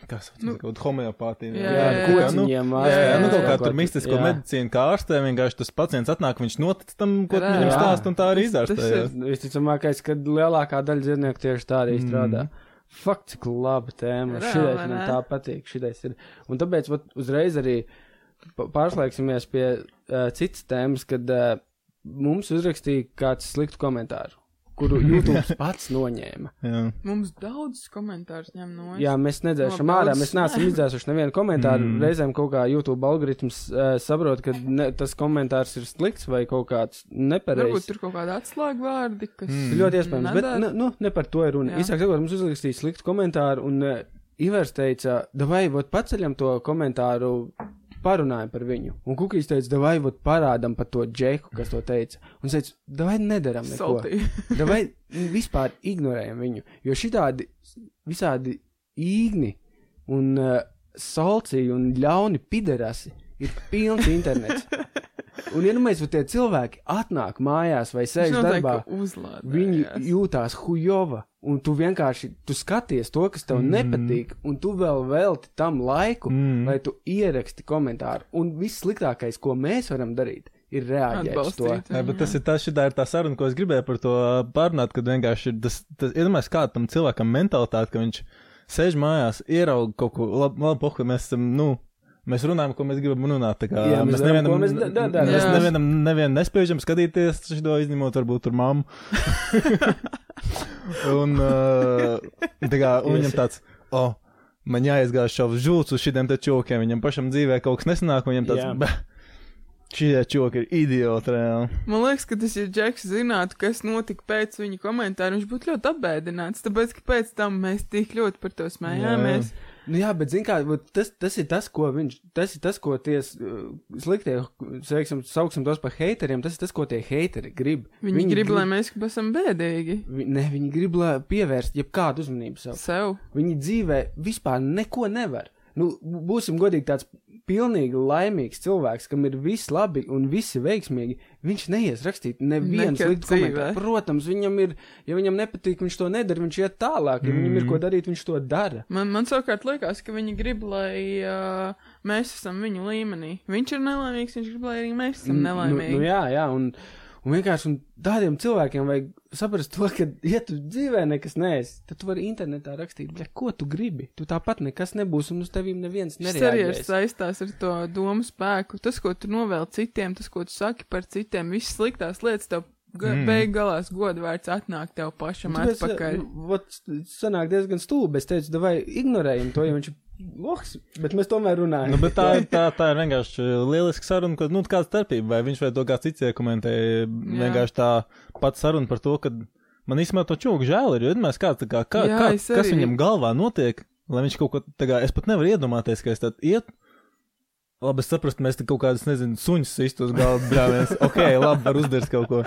Speaker 1: kas nu, kaut kāda homeopātija.
Speaker 2: jā,
Speaker 3: Jā, jā,
Speaker 1: kaut kā, nu,
Speaker 2: kociņiem,
Speaker 1: Jā, jā, nu,
Speaker 3: jā,
Speaker 1: kaut
Speaker 3: jā.
Speaker 1: kā tur mistisko medicīnu kā ārstē, vienkārši tas pacients atnāk, viņš notic tam, ko
Speaker 3: Jā,
Speaker 1: viņam
Speaker 2: jā.
Speaker 1: stāst, un tā arī
Speaker 3: Tas
Speaker 1: izdārstē.
Speaker 3: ir-
Speaker 1: jā. Mm.
Speaker 2: Visticamākais, ka lielākā daļa dzīvnieku tieši tā arī strādā. Fakt, cik laba tēma.
Speaker 3: Reāli,
Speaker 2: Šī
Speaker 3: vai
Speaker 2: man
Speaker 3: ne?
Speaker 2: tā patīk. Šitais ir. Un tāpēc vat, uzreiz arī pa- pārslēgsimies pie uh, citas tēmas, kad uh, mums uzrakstīja kāds sliktu komentāru, kuru YouTube pats noņēma.
Speaker 1: Jā.
Speaker 3: Mums daudz komentārus ņem no
Speaker 2: Jā, mēs nedzēsim
Speaker 3: Labi,
Speaker 2: ārā,
Speaker 3: daudz.
Speaker 2: mēs neesam izdzēsuši nevienu komentāru. Mm. Reizēm kaut kā YouTube algoritms uh, saprot, ka ne, tas komentārs ir slikts vai kaut kāds nepareizs.
Speaker 3: Varbūt tur kaut kāda atslēga vārdi, kas
Speaker 1: Mm.
Speaker 2: Ļoti iespējams, bet
Speaker 3: nedara.
Speaker 2: ne, nu, ne par to ir runa.
Speaker 3: Jā.
Speaker 2: Īsāk sakot, mums uzrakstīja sliktu komentāru, un uh, Ivers teica, vai vot paceļam to komentāru, parunājam par viņu. Un Kukīs teica, vai vot parādam par to džeku, kas to teica. Un es teicu, vai nedaram neko.
Speaker 3: Saltī.
Speaker 2: Nu, Vai vispār ignorējam viņu, jo šitādi visādi īgni un uh, salcīgi un ļauni piderasi ir pilns internets. Un, ja nu mēs vot tie cilvēki atnāk mājās vai
Speaker 3: Viņš
Speaker 2: sēž
Speaker 3: noteikti
Speaker 2: darbā,
Speaker 3: uzlādē.
Speaker 2: Viņi jūtās hujova, un tu vienkārši tu skaties to, kas tev mm. nepatīk, un tu vēl velti tam laiku, mm.
Speaker 1: Mm.
Speaker 2: lai tu ieraksti komentāru. Un viss sliktākais, ko mēs varam darīt, ir reaģēt uz to.
Speaker 3: atbalstīt.
Speaker 1: Jā, bet tas ir tas, šī ir tā saruna, ko es gribēju par to pārnāt, kad vienkārši ir tas, tas iedomājies, kāda tam cilvēkam mentalitāte, ka viņš sēž mājās, ierauga kaut ko labu, labi, poh, ka mēs esam, nu, mēs runājam, ko mēs gribam runāt. tā Kā,
Speaker 2: Jā, mēs darām, ko mēs da- da- darām.
Speaker 1: mēs
Speaker 3: Jā.
Speaker 1: nevienam, nevienam nespējam skatīties šo izņemot, varbūt tur mammu. un, uh, tā kā, un viņam tāds, oh, man jāizgāž šovs žūts uz šiem te čokiem, viņam pašam dzīvē kaut kas nesanāk, un viņam tāds,
Speaker 2: Jā.
Speaker 1: "Bah, šie čoki ir idioti reāli.
Speaker 3: Man liekas, ka tas, ja Džeks zinātu, kas notika pēc viņa komentāra, viņš būtu ļoti apbēdināts, tāpēc, ka pēc tam mēs tik ļoti par to smējāmies.
Speaker 2: Nu, jā, bet zini, kā, vot tas, tas ir tas, ko viņš, tas ir tas, ko tie s- eh, sliktie, sēksim, sauksim tos par heiteriem, tas ir tas, ko tie heiteri grib.
Speaker 3: Viņi, viņi grib, lai mēs esam bēdīgi.
Speaker 2: Vi, ne, viņi grib lai pievērst jebkādu uzmanību sev.
Speaker 3: Sev.
Speaker 2: Viņi dzīvē vispār neko nevar. Nu, bū- būsim godīgi, tāds pilnīgi laimīgs cilvēks, kam ir viss labi un visi veiksmīgi. Viņš neies rakstīt nevienu
Speaker 3: Nekad
Speaker 2: sliktu
Speaker 3: dzīvē.
Speaker 2: komentāru. Protams, viņam ir, ja viņam nepatīk, viņš to nedara, viņš iet tālāk. Ja
Speaker 3: Mm.
Speaker 2: viņam ir ko darīt, viņš to dara.
Speaker 3: Man, man savukārt liekas, ka viņi grib, lai uh, mēs esam viņu līmenī. Viņš ir nelaimīgs, viņš grib, lai arī mēs esam
Speaker 2: Nu, nu,
Speaker 3: nelaimīgi.
Speaker 2: jā, jā, un, Un vienkārši un tādiem cilvēkiem vajag saprast to, ka, ja tu dzīvē nekas neesi, tad tu vari internetā rakstīt, bļa, ko tu gribi. Tu tāpat nekas nebūs, un uz tevīm neviens
Speaker 3: Serieši
Speaker 2: nereaģēs.
Speaker 3: saistās ar to domu spēku. Tas, ko tu novēl citiem, tas, ko tu saki par citiem, viss sliktās lietas tev mm.
Speaker 1: Mm.
Speaker 3: beig galās godvērts atnāk tev pašam
Speaker 2: Un tāpēc,
Speaker 3: atpakaļ.
Speaker 2: nu, Vot, sanāk diezgan stulbi. Es teicu, vai ignorējam to, ja viņš ir loks, bet mēs tomēr runājam.
Speaker 1: Nu, bet tā, ir- tā, tā ir vienkārši lieliska saruna, ka, nu, kāda starpība, vai viņš vai to kāds cits iekomentēja. Vienkārši tā pati saruna par to, ka man īstenībā to čūku žēl ir, jo vienmēr kāds, tā kā, kā,
Speaker 3: Jā,
Speaker 1: kā,
Speaker 3: es
Speaker 1: kas
Speaker 3: arī.
Speaker 1: viņam galvā notiek, lai viņš kaut ko, tā kā, es pat nevaru iedomāties, ka es tad iet. Labi, es saprotu, mēs te kaut kādas, nezinu, suņus izturos galvā, brāļamies. Ok, labi, var uzdarīt kaut ko.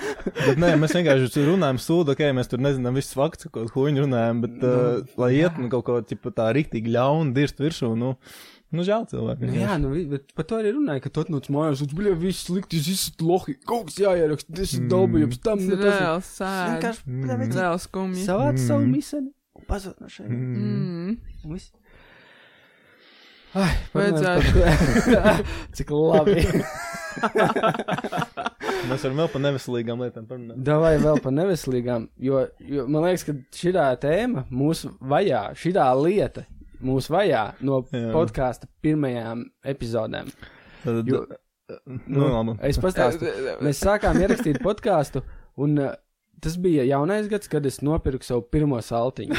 Speaker 1: Bet nē, mēs vienkārši runājam sūdu, ok, mēs tur nezinām visus faktus, ko huņu runājam, bet, uh, lai iet, nu, kaut ko, tipa, tā riktīgi ļauni dirst virsū, nu, nu, žēl cilvēku.
Speaker 2: Nu, jā, nu, vi- bet par to arī runāja, ka tu atnāc mājās, un bija viss slikti, viss lohi, kaut kas jāieraksta, tas
Speaker 1: Mm.
Speaker 2: ir dobjums, tam
Speaker 3: Tas
Speaker 2: nu,
Speaker 3: ir
Speaker 2: tas ir-
Speaker 3: reāls sēdes.
Speaker 2: Vienkārši bļa, vecīt,
Speaker 3: Reāls kumji.
Speaker 2: savāc
Speaker 1: Mm.
Speaker 2: savu miseni un pazūd no šeit.
Speaker 1: Mm.
Speaker 3: Mm.
Speaker 2: Ai,
Speaker 3: Vajadzētu.
Speaker 2: parunājam par- Cik labi.
Speaker 1: Mēs varam vēl par neveselīgām lietām parunāt.
Speaker 2: Davai vēl par neveselīgām, jo, jo man liekas, ka šī tēma mūs vajā, šī lieta mūs vajā no
Speaker 1: Jā.
Speaker 2: podkāsta pirmajām epizodēm.
Speaker 1: Tad,
Speaker 2: Jo- e-
Speaker 1: nu, labi.
Speaker 2: Es pastāstu. Mēs sākām ierakstīt podkāstu, un uh, tas bija jaunais gads, kad es nopirku savu pirmo saltiņu.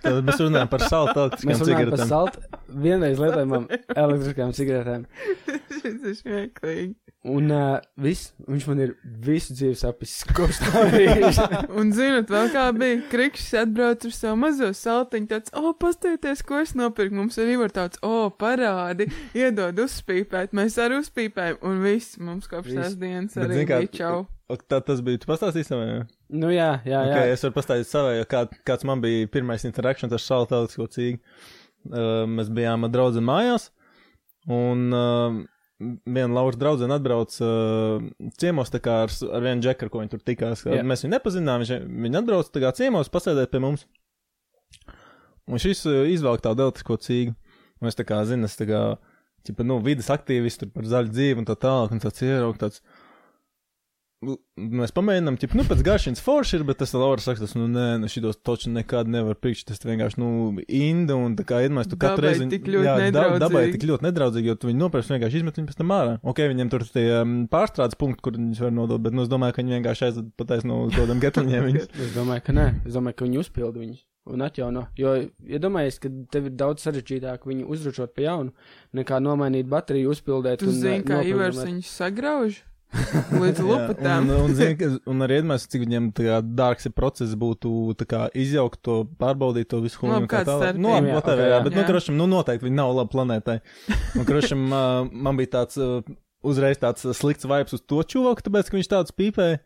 Speaker 1: Tad mēs runājam par saldu
Speaker 2: Mēs
Speaker 1: elektriskām
Speaker 2: runājam par
Speaker 1: cigaretēm.
Speaker 2: saltu vienreiz lietojamām elektriskām cigaretēm.
Speaker 3: Šis ir smieklīgi.
Speaker 2: Un uh, viss, viņš man ir visu dzīvi sapisis kopš tā brīža.
Speaker 3: Un, zinot, vēl kā bija krikšs, atbrauc ar savu mazo saltiņu, tāds, o, paskatieties, ko es nopirku. Mums arī var tāds, o, parādi, iedod uzspīpēt, mēs arī uzspīpējam, un viss mums kopš
Speaker 2: Viss.
Speaker 3: tās dienas
Speaker 1: Bet
Speaker 3: arī
Speaker 1: zini kā-
Speaker 3: bija čau.
Speaker 1: Ok, Tā tas bija. Tu pastāstīji savai? jā?
Speaker 2: nu jā, jā, jā.
Speaker 1: Okay, es varu pastāstīt savai, jo kā, kāds man bija pirmais interakcijas ar saldu elektrisko cīgu. Uh, mēs bijām ar draugu mājās, un uh, viena lauva draudzene atbrauca uh, ciemos tā kā ar, s- ar vienu džeku, ar ko viņi tur tikās.
Speaker 2: Jā.
Speaker 1: Yeah. Mēs viņu nepazinām, viņš, viņi atbrauca tā kā ciemos, pasēdēja pie mums. Un šis uh, izvelk tādu elektrisko cīgu. Un es tā kā zinu, es tā kā, tipa, nu, vidas aktīvisti tur par zaļu dzīvi un tā tālāk, un tāds ieraugs tāds. Nu, Mēs pamēģinām, tipa, nu, pēc garšas forši ir, bet tas Laura saka, tas, nu, nē, nu, šitos toču nekad nevar pirkt, tas vienkārši, nu, inda, un tā kā, iedomājies, tu katru
Speaker 3: Dabai
Speaker 1: reizi.
Speaker 3: tik ļoti
Speaker 1: jā, dab- dabai
Speaker 3: nedraudzīgi.
Speaker 1: tik ļoti nedraudzīgi, jo tu viņu nopērci vienkārši izmet viņu pēc tam ārā. Ok, viņiem tur tie um, pārstrādes punkti, kur viņus var nodot, bet, nu, es domāju, ka viņi vienkārši aizved pataisno uz godam getliņiem viņus.
Speaker 2: Es domāju, ka nē, es domāju, ka viņi uzpilda viņus un atjauno. Jo, ja domājies, ka tev ir daudz sarežģītāk viņu uzručot pa jaunu, nekā nomainīt bateriju, uzpildēt.
Speaker 3: Tu
Speaker 2: un,
Speaker 3: zini,
Speaker 2: ā,
Speaker 3: kā Ivers
Speaker 2: noprogrammēt.
Speaker 3: viņu sagrauž līdz
Speaker 1: Jā,
Speaker 3: lupatām.
Speaker 1: Un, un, zini, ka- un arī iedomājos, cik viņiem tā kā dārgs ir process būtu tā kā izjaukt to, pārbaudīt to visu
Speaker 3: Labi,
Speaker 1: huņu.
Speaker 3: kāds starpība,
Speaker 1: nu, labi,
Speaker 2: jā,
Speaker 1: whatever,
Speaker 2: ok,
Speaker 1: jā,
Speaker 2: jā.
Speaker 1: bet, nu,
Speaker 3: Jā.
Speaker 1: krošam, nu, noteikti viņi nav labi planētai. Un, krošam, uh, man bija tāds uh, uzreiz tāds uh, slikts vibes uz to čuvaku, tāpēc, ka viņš tāds pīpēja.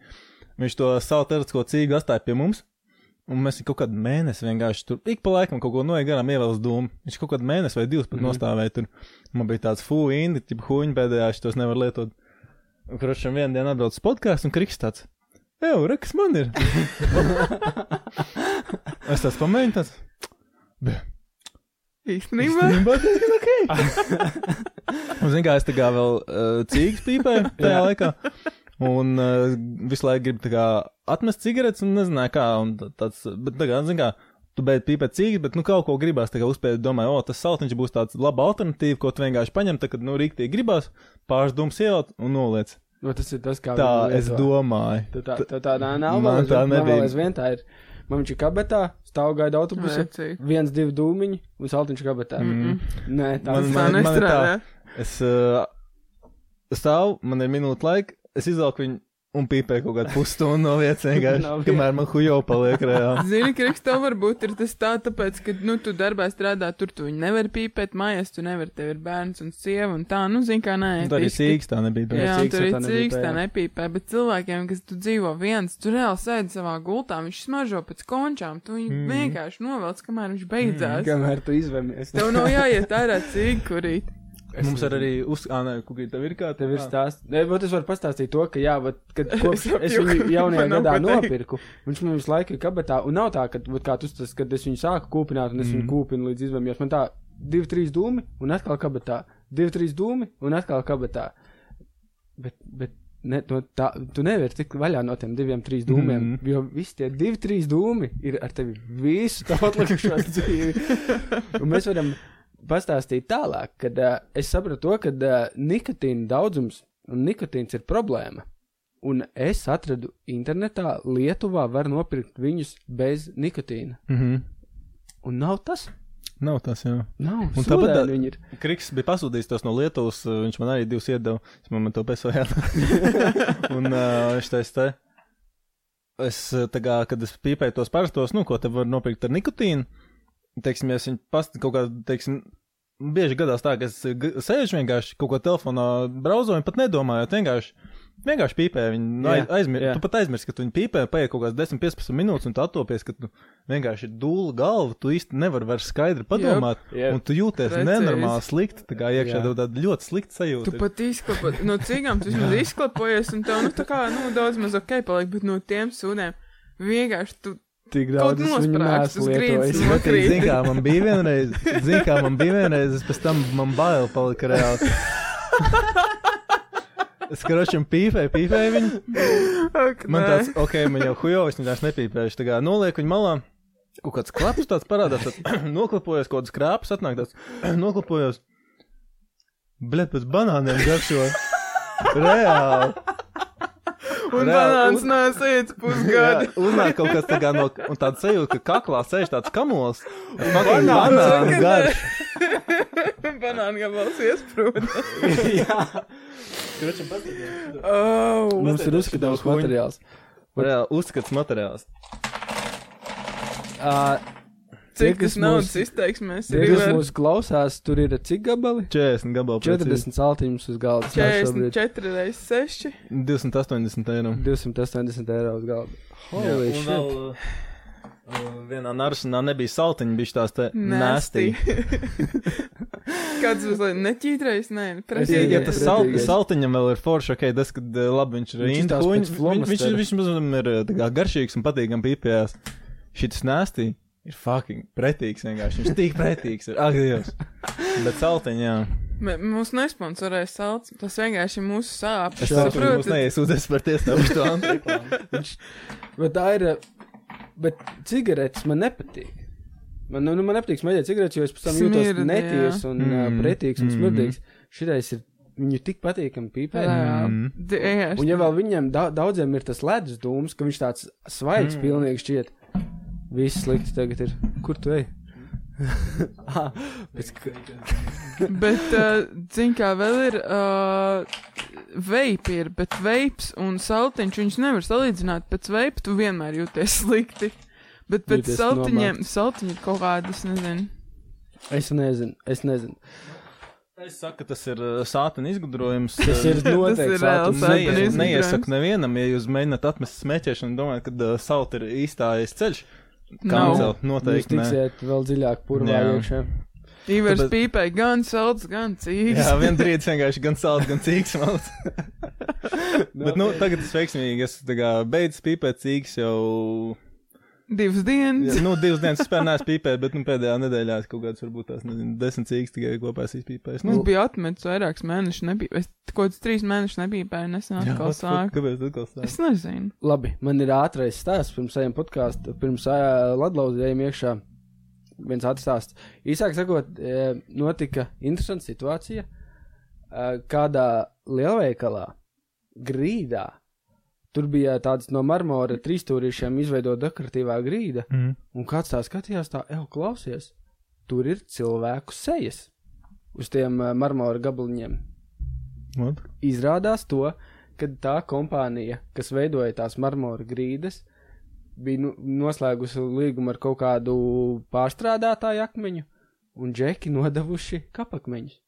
Speaker 1: Viņš to savu tercisko cīgu atstāja pie mums. Un mēs viņu kaut kādu mēnesi vienkārši tur, ik pa laikam kaut ko noiet garām, ievēlas dūmu. Viņš kaut kādu mēnesi vai divus pat mm
Speaker 3: Mhm.
Speaker 1: -hmm. nostāvēja tur. Man bija tāds fū, indi, tip huņi pēdējā, šitos nevar lietot. Un, krošam, vienā dienā atbrauc uz podkāstu un kriks tāds. Evo, re, kas man ir? es tās pamēģinu, tas
Speaker 3: Īstenībā.
Speaker 1: diezgan ok. Un, zini, kā es tā kā vēl uh, cīgas pīpēju tajā laikā. Un uh, visu laiku gribu tā kā atmest cigaretes un nezināju kā. Un tā- tāds, bet, tā kā, zini, kā, tu beidz pīpēt cīgas, bet, nu, kaut ko gribās. Tā kā uzspēju, domāju, o, tas saltiņš būs tāds laba alternatīva, ko tu vienkārši paņem, tad, kad, nu, rīktī gribās, pārsdums ieliet un noliec.
Speaker 2: Nu, tas ir tas, kā
Speaker 1: Tā
Speaker 2: viņi
Speaker 1: es
Speaker 2: lieto.
Speaker 1: domāju.
Speaker 2: Tā, tā, tā, tā nav
Speaker 1: Man
Speaker 2: vēl
Speaker 1: tā
Speaker 2: aizvien- man vēl
Speaker 1: nebija.
Speaker 2: aizvien tā ir. Man viņš ir kabetā, stāv gaida autobusu,
Speaker 3: Vecīgi.
Speaker 2: viens, divi dūmiņi un saltiņš kabetā.
Speaker 1: Mm.
Speaker 2: Nē, tā
Speaker 1: Man-
Speaker 2: nav.
Speaker 3: Tā
Speaker 1: man ir tā-
Speaker 3: nestrādā.
Speaker 1: Es uh, stāvu, man ir minūte laika, es izvelku viņu un pīpēju kaut kādu pusstundu no vietas
Speaker 2: Nav
Speaker 1: vienkārši, kamēr man hujo paliek reāli.
Speaker 3: Zini, Kriks, tev varbūt ir tas tā, tāpēc, ka, nu, tu darbā strādā, tur tu viņu nevar pīpēt, mājās tu nevar, tev ir bērns un sieva un tā, nu, zini, kā nē.
Speaker 1: Un Tā arī sīksts, tā nebija. bet-
Speaker 3: Jā,
Speaker 2: Cīgs
Speaker 3: un tur
Speaker 2: ar
Speaker 3: ir
Speaker 2: tā nepīpē,
Speaker 3: cīgs, tā
Speaker 2: jā.
Speaker 3: nepīpē, bet cilvēkiem, kas tu dzīvo viens, tu reāli sēdi savā gultā, viņš smaržo pēc končām, tu viņu mm. vienkārši novelc, kamēr viņš beidzās. Mm.
Speaker 2: Kamēr tu izvēmies,
Speaker 3: Tev nav jāiet ārā cīgi, kurīt.
Speaker 1: Mums ir arī uz... Ā, nē, kukurī, tev ir kā?
Speaker 2: Tev ir stāsts. Nē, bet es varu pastāstīt to, ka, jā, bet, kad kopš
Speaker 3: sapņoju,
Speaker 2: es
Speaker 3: ka
Speaker 2: viņu
Speaker 3: man
Speaker 2: jaunajā
Speaker 3: nav
Speaker 2: gadā
Speaker 3: ko teikt.
Speaker 2: nopirku, viņš man visu laiku ir kabatā. Un nav tā, ka, vat kā tu tas, kad es viņu sāku kūpināt, un es viņu kūpinu līdz izvēm, jo man tā, divi, trīs dūmi, un atkal kabatā. Divi, trīs dūmi, un atkal kabatā. Bet, bet Ne, no tā, tu nevari tikt vaļā no tiem diviem, trim dūmiem. Mm
Speaker 1: Mhm.
Speaker 2: -hmm. Jo visi tie divi, trīs dūmi ir ar tevi visu tavu atlikušo dzīvi. Un mēs varam pastāstīt tālāk, kad uh, es sapratu to, ka uh, nikotīna daudzums un nikotīns ir problēma. Un es atradu internetā, Lietuvā var nopirkt viņus bez nikotīna.
Speaker 1: Mm -hmm.
Speaker 2: Un nav tas.
Speaker 1: Nav tas, jā.
Speaker 2: Nav.
Speaker 1: Un tāpat tā-
Speaker 2: sūdaini viņi ir.
Speaker 1: Kriks bija pasūtījis tos no Lietuvas, uh, viņš man arī divus iedeva. Es man to pesojā. un uh, viņš teica, te. Es, uh, tā kā, kad es pīpēju tos parastos, nu, ko te var nopirkt ar nikotīnu, teiksim, ja es viņu past kaut kādā, teiksim, bieži gadās tā, ka es uh, g- sēžu vienkārši kaut ko telefonā brauzoju, pat nedomājot, vienkārši. Vienkārši pīpēja, viņa nu,
Speaker 2: Jā,
Speaker 1: aiz- aizmir,
Speaker 2: jā.
Speaker 1: tu pat aizmirsti, ka tu viņu pīpēji, paiet kaut kāds 10-15 minūtes, un tu attopies, ka tu vienkārši ir dūla galva, tu īsti nevari vairs skaidri padomāt, yep,
Speaker 2: jep.
Speaker 1: yep. un tu jūties
Speaker 3: Precīzi.
Speaker 1: nenormāli slikti. Tā kā iekšā
Speaker 2: Jā.
Speaker 1: tev tāda ļoti slikta sajūta.
Speaker 3: Tu pat izklapojies no cigām, tu vismaz izklapojies, un tev, nu, tā kā, nu, daudz maz ok paliek, bet no tiem sūnēm vienkārši tu
Speaker 2: Tik daudz
Speaker 3: Kaut
Speaker 2: es viņu neesmu
Speaker 3: nosprāgst uz grīdas
Speaker 2: lietojis.
Speaker 3: no- nokrīt.
Speaker 1: Zini, kā man bija vienreiz, zini, kā man bija vienreiz, es pēc tam man bail palika reāli. Es krošam pīpēju, pīpēju viņu.
Speaker 3: Ak,
Speaker 1: Man
Speaker 3: nē.
Speaker 1: tāds, ok, man jau hujo, es viņu vairs nepīpēšu. Tā kā nolieku viņu malā, kaut kāds klaps tāds parādās, tad noklapojos kaut kādas krāpes, atnāk tāds, noklapojos. Bļet, pēc banāniem garšo. Reāli.
Speaker 3: Un
Speaker 1: reāli
Speaker 3: banāns
Speaker 1: uz-
Speaker 3: nāsīts pusgadu.
Speaker 1: Jā, Uznāk kaut kas tāds no, un tāds sajūta, ka kaklā sēž tāds kamols. Banāns,
Speaker 2: banāns.
Speaker 1: banāns garš.
Speaker 3: Banāna gabals iesprūda.
Speaker 1: Kročam patīk.
Speaker 3: Oh,
Speaker 2: Mums ir uzskatāms
Speaker 1: Huņi.
Speaker 2: materiāls.
Speaker 1: Reāli uzskats materiāls.
Speaker 2: Uh,
Speaker 3: cik tas
Speaker 2: kas
Speaker 3: naudas
Speaker 2: mūs-
Speaker 3: izteiksmēs
Speaker 2: Tie,
Speaker 3: ir
Speaker 2: kas
Speaker 3: vēl
Speaker 2: mūsu klausās, tur ir cik gabali?
Speaker 1: 40 gabalu. 40.
Speaker 2: 40 saltiņus uz galda. Tā šobrīd
Speaker 3: 44 reiz 6.
Speaker 1: 280 eiro.
Speaker 2: 280 eiro uz galda.
Speaker 1: Jā,
Speaker 2: Holy
Speaker 1: un
Speaker 2: shit.
Speaker 1: vēl, uh, Vienā naršanā nebija saltiņa, bija tās te nēstī.
Speaker 3: Nēstī. Kāds mazliet neķītrais, nē, nu,
Speaker 1: Ja,
Speaker 2: Jā,
Speaker 1: ja
Speaker 2: jā,
Speaker 1: tas
Speaker 2: jā.
Speaker 3: prasīgi.
Speaker 1: sal,
Speaker 2: Pretīgais.
Speaker 1: saltiņam vēl ir forši, ok, tas, kad eh, labi viņš ir
Speaker 2: Viņš
Speaker 1: īņķis,
Speaker 2: izstās pēc
Speaker 1: viņš, viņš, viņš,
Speaker 2: flomastera.
Speaker 1: viņš mazam ir eh, tā kā garšīgs un patīkam pīpējās. Šis nēstī ir fucking pretīgs vienkārši. Viņš tik pretīgs ir. Ak, Dievs. Bet saltiņa, jā.
Speaker 3: Mē- Mūs nesponsorēja salds, tas vienkārši ir mūsu sāpes.
Speaker 1: Es saprotu, ka mums
Speaker 3: Saprotat?
Speaker 1: neiesūdzēs par tiesām uz to antrību.
Speaker 2: Bet tā ir. Bet cigaretes man nepatīk. Man, nu, man nepatīk smēķēt cigaretes, jo es pēc tam jūtos
Speaker 3: Smirdi,
Speaker 2: neties un mm.
Speaker 1: Mm.
Speaker 2: pretīgs un
Speaker 1: Mm.
Speaker 2: smirdīgs. Šitais ir viņu tik patīkami pīpēt.
Speaker 3: Jā,
Speaker 1: Mm.
Speaker 3: d- jā,
Speaker 2: Un ja vēl viņiem da daudziem ir tas ledus dūms, ka viņš tāds svaigs mm. pilnīgi šķiet. Viss slikti tagad ir. Kur tu ej? Ah, pēc ka-
Speaker 3: Bet, uh, zin kā, vēl ir uh, veipi, ir, bet veips un saltiņš viņus nevar salīdzināt. Pēc veipa tu vienmēr jūties slikti. Bet pēc
Speaker 2: Jūties
Speaker 3: saltiņiem, saltiņi ir kaut kādi, es nezinu.
Speaker 2: es nezinu, es nezinu.
Speaker 1: Es saku, ka tas ir eh, sātana izgudrojums.
Speaker 2: Tas
Speaker 1: eh,
Speaker 2: ir noteikti.
Speaker 3: ir reāls
Speaker 2: sātans.
Speaker 3: sātana
Speaker 1: Neies-
Speaker 3: izgudrojums.
Speaker 1: Neiesaku nevienam, ja jūs mēģināt atmest smēķēšanu un domājat, ka uh, salt ir īstais ceļš. Kā
Speaker 3: Nav.
Speaker 1: celt?
Speaker 2: Jūs
Speaker 1: Noteikti. nē.
Speaker 2: tiksiet vēl dziļāk purvā
Speaker 1: Jā.
Speaker 2: iekšā.
Speaker 3: Ivers
Speaker 1: Tāpēc-
Speaker 3: pīpē gan salds, gan cīgs.
Speaker 1: Jā, vien brīdis vienkārši gan sāls, gan cīks. malts. Bet nu, tagad tas veiksmīgi. Es tā kā beidzu pīpēt cīks jau.
Speaker 3: Divas dienas.
Speaker 1: jā, Nu, divas dienas vispār neesmu pīpējis, bet nu, pēdējā nedēļā es kaut kāds varbūt tās nezinu, desmit cīks tikai kopā esmu pīpējis.
Speaker 3: Nu,
Speaker 1: Nu,
Speaker 3: es biju atmetis vairākus mēnešus, nebija. Es kaut kādus trīs mēnešus nepīpēju, nesen
Speaker 1: jā,
Speaker 3: atkal
Speaker 1: what the fuck,
Speaker 3: sāku.
Speaker 1: kāpēc atkal sāk?
Speaker 3: Es nezinu.
Speaker 2: Labi, man ir ātrais stāsts pirms ejam podkāstu, pirms ā, ledlauzējiem iekšā. Viens atstāsts. Īsāk sakot, ē, notika interesanta situācija. ā, Kādā lielveikalā, grīdā, tur bija tāds no marmora trīsstūrīšiem izveidota dekoratīvā grīda,
Speaker 1: Mm.
Speaker 2: un kāds tā skatījās, tā, ej, klausies, tur ir cilvēku sejas uz tiem ā, marmora gabaliņiem
Speaker 1: What?
Speaker 2: izrādās to, ka tā kompānija, kas veidoja tās marmora grīdas, bija nu- noslēgusi līgumu ar kaut kādu pārstrādātāju akmeņu, un džeki nodavuši kapakmeņus.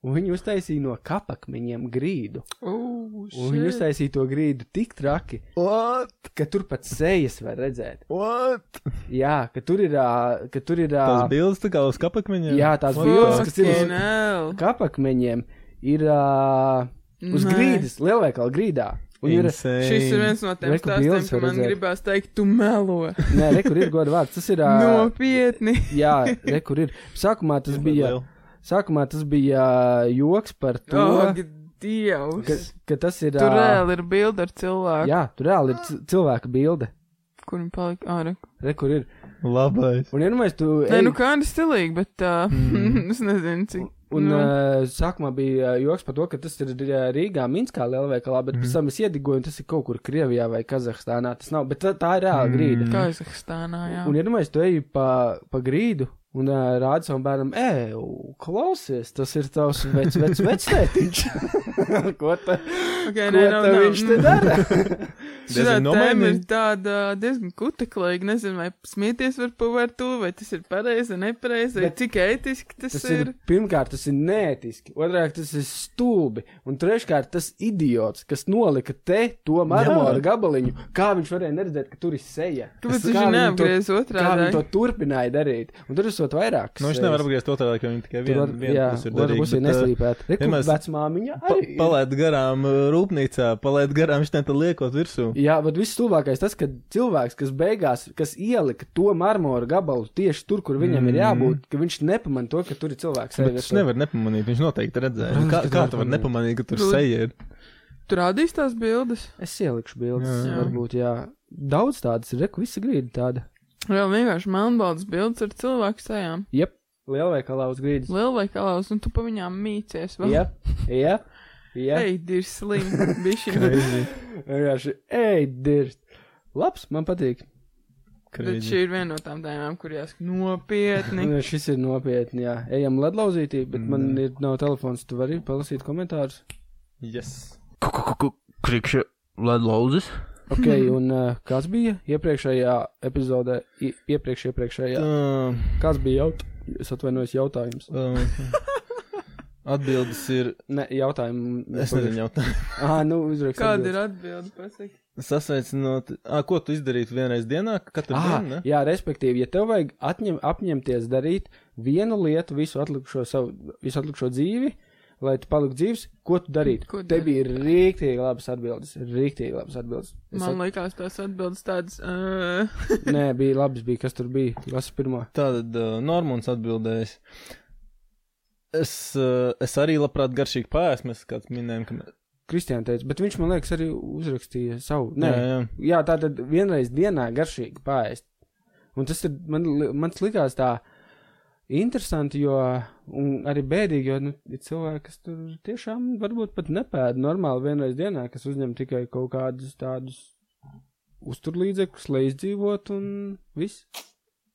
Speaker 2: Un viņi uztaisīja no kapakmeņiem grīdu.
Speaker 3: Ugh,
Speaker 2: Un viņi uztaisīja to grīdu tik traki,
Speaker 1: What?
Speaker 2: ka tur pat sejas var redzēt.
Speaker 1: What?
Speaker 2: Jā, ka tur ir. ā, Ka tur ir
Speaker 1: Tās
Speaker 2: ā,
Speaker 1: bildes tā kā uz kapakmeņiem?
Speaker 2: jā, tās
Speaker 1: What
Speaker 2: bildes,
Speaker 1: the-
Speaker 2: kas ir uz
Speaker 3: Nē,
Speaker 2: kapakmeņiem, ir ā, uz grīdas, lielveikala grīdā. Un ir
Speaker 1: Insane.
Speaker 3: Šis ir viens no tiem
Speaker 2: Reku
Speaker 3: stāstiem,
Speaker 2: bildes
Speaker 3: ka
Speaker 2: var
Speaker 3: man
Speaker 2: redzēt.
Speaker 3: gribās teikt, tu melo.
Speaker 2: Nē, re, kur ir goda vārds. Tas ir. ā,
Speaker 3: Nu. Nopietni.
Speaker 2: Jā, re, kur ir. Sākumā tas bija.
Speaker 1: Vēl.
Speaker 2: Sākumā tas bija joks par to,
Speaker 3: Ak,
Speaker 2: Ka,
Speaker 3: Ah, Dievs!
Speaker 2: ka tas ir.
Speaker 3: Tur
Speaker 2: ā,
Speaker 3: reāli ir bilde ar cilvēku,
Speaker 2: jā, tur reāli ir c- cilvēka bilde.
Speaker 3: kur viņi palika ārā.
Speaker 2: Re, kur ir.
Speaker 1: Labais.
Speaker 2: Un vienmēr tu.
Speaker 3: Nē,
Speaker 2: ej-
Speaker 3: nu kā ir stilīgi, bet uh, mm. es nezinu, cik.
Speaker 2: Un
Speaker 3: nu,
Speaker 2: uh, sākumā bija uh, joks par to, ka tas ir uh, Rīgā, Minskā lielveikalā, bet pēc tam es iedigoju, un tas ir kaut kur Krievijā vai Kazahstānā. Tas nav, bet tā, tā ir reāla grīda.
Speaker 3: Kazahstānā, jā.
Speaker 2: Un iedomājieties, tu ej pa, pa grīdu un uh, rādi savam bērnam, ej, klausies, tas ir tavs vecs, vecs, vecētiņš. ko tā,
Speaker 3: Okay,
Speaker 2: ko tā viņš te dara?
Speaker 3: Šī
Speaker 1: Diezgan
Speaker 3: tēma ir
Speaker 1: nomainīja.
Speaker 3: tāda diezgan kuteklīga. Nezinu, vai smieties var pavērt to, vai tas ir pareizi, nepareizi, vai
Speaker 2: Bet
Speaker 3: cik ētiski tas,
Speaker 2: Tas ir, pirmkārt, tas ir nētiski, otrkārt, tas ir stulbi, un treškārt, tas idiots, kas nolika te to marmora gabaliņu. Kā viņš varēja neredzēt, ka tur ir seja?
Speaker 3: Kāpēc
Speaker 2: Kā
Speaker 3: viņš
Speaker 2: viņi to-
Speaker 3: neapgriez
Speaker 2: Kā
Speaker 3: otrādi?
Speaker 2: viņi to turpināja darīt? Un tur esot vairākas.
Speaker 1: Nu, viņš nevar apgriezt to tādā, ka viņi tikai vienu pusi ir
Speaker 2: Tur
Speaker 1: darīgi.
Speaker 2: būs arī neslīpēt.
Speaker 1: vienmēr-
Speaker 2: Rekomendācija vecmāmiņa.
Speaker 1: Pa,
Speaker 2: arī ir.
Speaker 1: palaid garām uh, rūpnīcā, palaid garām šitā te liekot virsū.
Speaker 2: Jā, bet viss stulbākais tas, ka cilvēks, kas beigās, kas ielika to marmora gabalu tieši tur, kur viņam mm. ir jābūt, ka viņš nepamanīja to, ka tur ir cilvēks.
Speaker 1: Bet viņš nevar nepamanīt, viņš noteikti redzēja. Nu, Kā,
Speaker 2: Protams, ka
Speaker 1: kā
Speaker 2: nevar
Speaker 1: tu vari
Speaker 2: pamanīt.
Speaker 1: nepamanīt, ka tur
Speaker 3: Tu-
Speaker 1: seja ir?
Speaker 3: ir. Tur rādīs tās bildes.
Speaker 2: Es ielikšu bildes, jā,
Speaker 1: Jā.
Speaker 2: jā. varbūt, jā. Daudz tādas ir, reku, visi grīdi tāda.
Speaker 3: Vēl vienkārši melnbaldas bildes ar cilvēku sejām.
Speaker 2: Jep, lielveikalā uz grīdas.
Speaker 3: Lielveikalās, un tu pa viņām mīcies. Vēl.
Speaker 2: Jep, jep, jep.
Speaker 3: Ej, ir slims, bišķi.
Speaker 1: Crazy,
Speaker 2: Vienkārši, ej, dirst. Labs, man patīk.
Speaker 3: Bet
Speaker 1: crazy.
Speaker 3: šī ir viena no tām tēmām, kur jāsaka nopietni.
Speaker 2: Nu, Šis ir nopietni, jā. Ejam ledlauzītī, bet man ir nav telefons, tu vari palasīt komentārus.
Speaker 1: Yes.
Speaker 6: Krikšķa ledlauzis.
Speaker 2: Ok, un uh, kas bija iepriekšējā epizodē, i- iepriekš, iepriekšējā?
Speaker 1: Tā,
Speaker 2: Kas bija jautājums? Es atvainojos, jautājums.
Speaker 1: um, Atbildes ir.
Speaker 2: Nē, jautājumu.
Speaker 1: Es nezinu, jau tā.
Speaker 2: Ah, mm, nu, uzrakstīt.
Speaker 3: Kāda ir atbilde? Pasaki.
Speaker 1: Sasveicinot, à, ko tu izdarītu vienreiz dienā, katru
Speaker 2: Ah,
Speaker 1: dienu? ne?
Speaker 2: jā, respektīvi, ja tev vajag atņem, apņemties darīt vienu lietu visu atlikušo, savu, visu atlikušo dzīvi, lai tu paliktu dzīves, ko tu darītu?
Speaker 3: Ko
Speaker 2: Te bija rīktīgi labas atbildes, rīktīgi labas atbildes. Es
Speaker 3: Man liekas, tās atbildes tādas. Uh,
Speaker 2: at... Nē, bija labas, bija, kas tur bija, kas pirmo.
Speaker 1: Tātad uh, Normons atbildējis. Es, uh, es arī labprāt garšīgi pāēs, mēs kāds minējām, ka.
Speaker 2: Kristiāna teica, bet viņš man liekas arī uzrakstīja savu. Nē,
Speaker 1: Jā, jā.
Speaker 2: jā tā tad vienreiz dienā garšīgi pāriest. Un tas ir, man, li- man tas likās tā interesanti, jo un arī bēdīgi, jo nu, ir cilvēki, kas tur tiešām varbūt pat nepēda normāli vienreiz dienā, kas uzņem tikai kaut kādus tādus uzturlīdzekļus, lai izdzīvot un viss.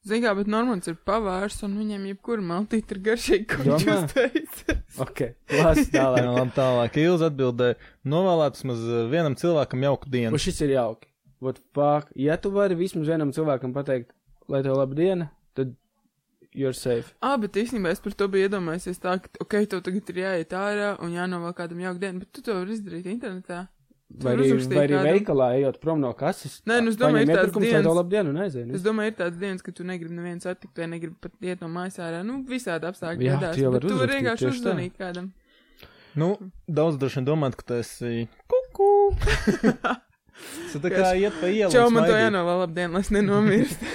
Speaker 3: Zinām, bet Normans ir pavērs, un viņam jebkura maltīte ir garšīga, ko
Speaker 2: Domā?
Speaker 3: viņš uzteica.
Speaker 2: Ok, lasu
Speaker 1: Jā,
Speaker 2: tālāk.
Speaker 1: nu labi, tālāk. Ilza atbildēja, novēlēt vismaz uh, vienam cilvēkam jauku dienu.
Speaker 2: Un šis ir jauki. Vat, fuck, ja tu vari vismaz vienam cilvēkam pateikt, lai tev laba diena, tad you're safe.
Speaker 3: Ah, bet īstenībā es par to biju iedomājies tā, ka, ok, tev tagad ir jāiet ārā un jānovēl kādam jauka diena, bet tu to vari izdarīt internetā. Tu
Speaker 2: Vai
Speaker 3: vari
Speaker 2: arī,
Speaker 3: uzrakstīt
Speaker 2: vai arī
Speaker 3: kādam.
Speaker 2: veikalā ejot prom no kases.
Speaker 3: Nē, nu, es domāju,
Speaker 2: paņem
Speaker 3: ir tās
Speaker 2: iepirkums, lai
Speaker 3: dienas-
Speaker 2: tev labu dienu un aiziet.
Speaker 3: Es domāju, ir tādas dienas, kad tu negribi nevienu satikt, vai negribi pat iet no mājas ārā. Nu, visādi apstākļi
Speaker 2: Jā,
Speaker 3: radās,
Speaker 2: tu jau
Speaker 3: bet
Speaker 2: vari
Speaker 3: tu vari
Speaker 2: uzrakstīt tieši
Speaker 3: vienkārši
Speaker 2: tā.
Speaker 3: uzzvanīt kādam.
Speaker 1: Nu, daudz droši vien domāt, ka tas ir kuku. Tas tā kā iet pa ielu.
Speaker 3: Čau, man to jānovēl labdien, lai es nenomirstu.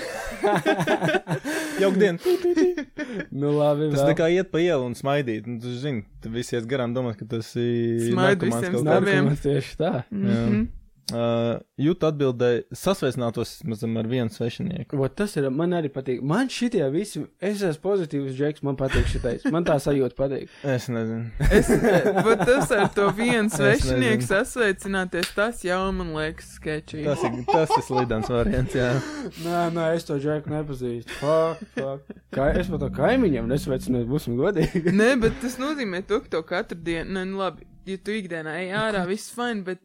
Speaker 1: Jauka diena.
Speaker 2: Nu, labi,
Speaker 1: Tas tā kā iet pa ielu un smaidīt. Un tu zini, tu visi ies garām domāt, ka tas ir.
Speaker 3: Smaid
Speaker 1: narkomāns kaut kāds.
Speaker 3: visiem stabiem.
Speaker 2: Nākamais tieši tā.
Speaker 3: Mhm.
Speaker 1: Uh, Jūta atbildēja, sasveicinātos mazam ar vienu svešinieku.
Speaker 2: Vot tas ir, man arī patīk. Man šitie visi, es esmu pozitīvs džeks, man patīk šitais. Man tā sajūta patīk.
Speaker 1: Es nezinu.
Speaker 3: Es, eh, bet tas ar to viens
Speaker 1: Es
Speaker 3: svešinieks sasveicināties, tas jau man liekas skečīgi.
Speaker 1: Tas ir, tas ir slidens variants, jā.
Speaker 2: Nē, nē, es to džeku nepazīstu. Fuck, fuck. Kā, es pat to kaimiņam nesveicinu, būsim godīgi.
Speaker 3: Nē, bet tas nozīmē to, ka tev katru dienu, nē, nu labi, ja tu ikdienā ej ārā, viss fine, bet,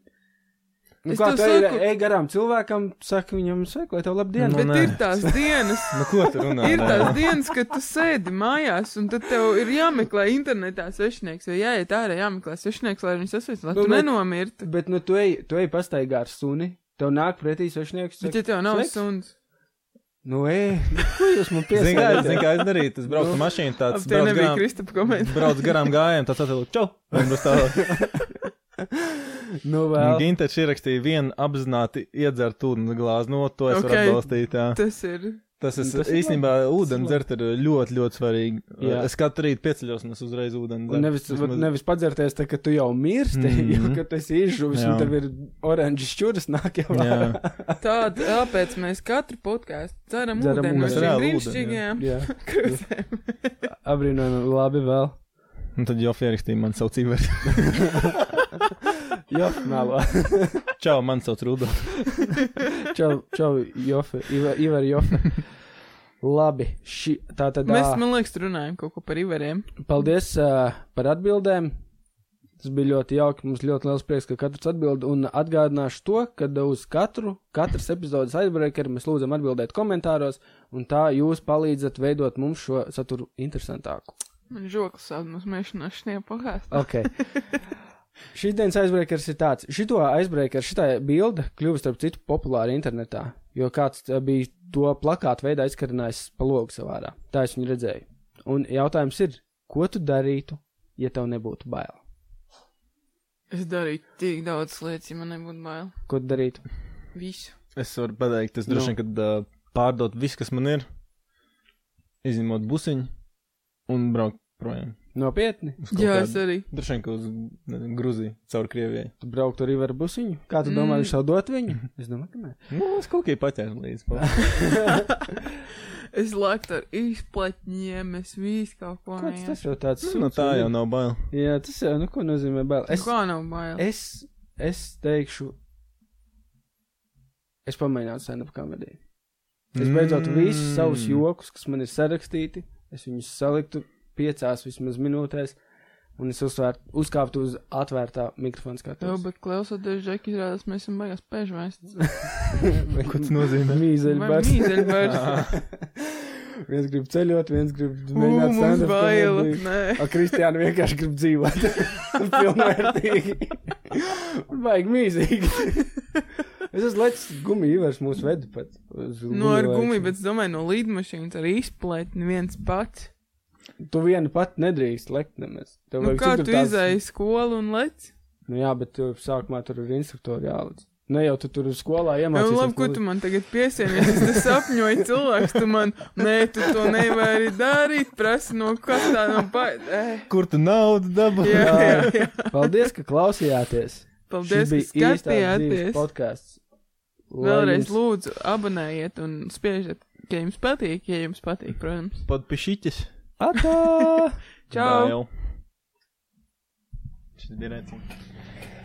Speaker 2: Nu,
Speaker 3: Es
Speaker 2: kā
Speaker 3: tev
Speaker 2: tu ej,
Speaker 3: saku-
Speaker 2: ej garām cilvēkam, saka viņam, sveiki, lai tev laba diena.
Speaker 1: Nu,
Speaker 3: bet
Speaker 1: nē.
Speaker 3: ir tās dienas.
Speaker 1: Nu, ko tu runā?
Speaker 3: Ir
Speaker 1: nē?
Speaker 3: tās dienas, kad tu sēdi mājās, un tad tev ir jāmeklē internetā svešinieks, vai jāiet ārā, jāmeklē svešinieks, lai viņu sasveicinātu,
Speaker 2: Nu,
Speaker 3: lai tu
Speaker 2: bet-
Speaker 3: nenomirtu.
Speaker 2: Bet, nu, tu ej, tu ej pastaigā ar suni, tev nāk pretī svešnieks.
Speaker 3: Bet,
Speaker 2: saka,
Speaker 3: ja tev nav
Speaker 2: "Sveiks?"
Speaker 3: suns,
Speaker 2: Nu, ej, nu, ko jūs
Speaker 1: Zini,
Speaker 2: man
Speaker 1: kā,
Speaker 2: piesakāt?
Speaker 1: zini, kā es darīju? Es braucu ar mašīnu,
Speaker 3: ap
Speaker 1: tāds
Speaker 3: te
Speaker 1: brauc
Speaker 3: nebija
Speaker 1: garām,
Speaker 3: Kristapa komentārs.
Speaker 1: brauc garām gājiem, tāds atvēl, čau! Un bez tā,
Speaker 2: Nu, vēl.
Speaker 1: Ginterš ierakstīja vienu apzināti iedzert ūdens glāzi, no to es
Speaker 3: Ok.
Speaker 1: varu atbalstīt, jā.
Speaker 3: Tas ir
Speaker 1: Tas ir
Speaker 2: Tas
Speaker 1: tas
Speaker 2: ir
Speaker 1: īstenībā ūdens
Speaker 2: labi.
Speaker 1: dzert ir ļoti, ļoti svarīgi.
Speaker 2: Jā.
Speaker 1: Es katru rītu pieceļos un es uzreiz ūdeni
Speaker 2: Un nevis,
Speaker 1: Vismaz-
Speaker 2: Vismaz... nevis padzerties, tā, ka tu jau mirsti, mm
Speaker 1: Mhm.
Speaker 2: -hmm. jau ka tu esi izžuvis, un
Speaker 1: Jā.
Speaker 2: tev ir oranžas čūras nāk jau
Speaker 1: Jā.
Speaker 2: vārā.
Speaker 3: Tāda, tāpēc mēs katru podkāstu ceram
Speaker 2: Dzeram
Speaker 3: ūdeni
Speaker 2: ūdeni.
Speaker 3: no
Speaker 1: Jā,
Speaker 3: šīm
Speaker 1: ūdeni,
Speaker 3: brīnišķīgajām
Speaker 2: Jā,
Speaker 3: krūzēm.
Speaker 2: apbrīnojami, labi vēl.
Speaker 1: Un tad jau ierakstīja man savu civeru.
Speaker 2: Jā, melo.
Speaker 1: Čau, man sauc Rudolf.
Speaker 2: Čau, čau, Jofe, Iva, Ivar Jofe. Labi, šī, tā tad.
Speaker 3: Mēs,
Speaker 2: ā,
Speaker 3: man liekas, runājam kaut ko par iveriem.
Speaker 2: Paldies uh, par atbildēm. Tas bija ļoti jauki. Mums ļoti liels prieks, ka katrs atbild. Un atgādināšu to, ka uz katru, katras epizodes aizbreakeru mēs lūdzam atbildēt komentāros, un tā jūs palīdzat veidot mums šo saturu interesantāku.
Speaker 3: Man žoklis sāp no smiešanās šajā pahāstā.
Speaker 2: Okay. Šīs dienas aizbreakers ir tāds. Šito aizbreakeru, šitā bilde kļuva starp citu populāra internetā, jo kāds ā, bija to plakātu veidā aizkarinājis pa logu savārā. Tā es viņu redzēju. Un jautājums ir, ko tu darītu, ja tev nebūtu bail?
Speaker 3: Es darīju tik daudz lietas, ja man nebūtu bail.
Speaker 2: Ko tu darītu?
Speaker 3: Visu.
Speaker 1: Es varu pateikt,
Speaker 3: Nu.
Speaker 1: es droši vien, kad uh, pārdot visu, kas man ir, izņemot busiņu un braukt projām.
Speaker 2: Nopietni,
Speaker 1: Uz kaut
Speaker 3: Jā,
Speaker 1: kādu-
Speaker 3: es arī.
Speaker 1: Droši vien, ka uz nezinu, Gruziju, caur Krievijai.
Speaker 2: tu brauktu arī ar busiņu. Kā tu domā,
Speaker 3: Mm.
Speaker 2: viņš tev dot viņu? Es domāju, ka nē.
Speaker 1: Nu, es kaut kā paķēru līdzi.
Speaker 3: Es laktu ar izplatņiem, es visu kaut ko
Speaker 2: Kāds
Speaker 3: nejaušu.
Speaker 2: tas jau tāds
Speaker 1: Nu, no
Speaker 2: sūds,
Speaker 1: tā
Speaker 2: vai
Speaker 1: jau
Speaker 2: ne?
Speaker 1: nav bail.
Speaker 2: Jā, tas jau, nu, ko nozīmē bail. Es,
Speaker 3: Kā nav bail?
Speaker 2: es, es teikšu, es pamainīju stand-up komēdiju. Es
Speaker 3: Mm.
Speaker 2: beidzot visus savus jokus, kas man ir sarakstīti, es viņus saliktu piecās vismaz minūtēs, un es uzsvērt, uzkāptu uz atvērtā mikrofona
Speaker 3: Jā,
Speaker 2: skatuves.
Speaker 3: bet klausoties, Džeki, izrādās, mēs esam beigās pēžmēs.
Speaker 1: Ko tas nozīmē?
Speaker 2: Mīzeļbars.
Speaker 3: Mīzeļbārs.
Speaker 2: viens grib ceļot, viens grib mēģināt
Speaker 3: Mums
Speaker 2: stand-up
Speaker 3: bail.
Speaker 2: komēdiju.
Speaker 3: Nē.
Speaker 2: Ar Kristiānu vienkārši grib dzīvot. Pilnvērtīgi. Vajag mīzīgi. Es esmu lecis gumiju, vairs mūsu vedu pat. uz
Speaker 3: No Nu, ar
Speaker 2: gumiju
Speaker 3: gumiju,
Speaker 2: veikšanu.
Speaker 3: bet es domāju, no līdmašīnas ar izplatni viens pats.
Speaker 2: Tu vienu pat nedrīkst lekt nemaz. Tev
Speaker 3: Nu,
Speaker 2: vajag
Speaker 3: kā
Speaker 2: citur
Speaker 3: tu
Speaker 2: tās-
Speaker 3: izēji skolu un lec?
Speaker 2: Nu jā, bet tu sākumā tur ir instruktori jālīdz. Ne jau tu tur skolā
Speaker 3: Jā,
Speaker 2: iemācījies.
Speaker 3: labi, ko tu man tagad piesienies? Es te sapņoju cilvēks, tu man, nē, tu to nevari darīt, prasa no kas tā no pa... Eh,
Speaker 1: Kur tu naudu dabūji?
Speaker 3: jā, jā, jā.
Speaker 2: Paldies, ka klausījāties.
Speaker 3: Paldies, ka
Speaker 2: Šis bija īstās dzīves
Speaker 3: skatījāties.
Speaker 2: Podcasts. Lai
Speaker 3: Vēlreiz
Speaker 2: jums-
Speaker 3: lūdzu, abonējiet un spiežiet, ja jums patīk, ja jums patīk, protams.
Speaker 1: Podpišķiķis.
Speaker 2: Atā!
Speaker 3: Čau!
Speaker 1: Šis bija redzams.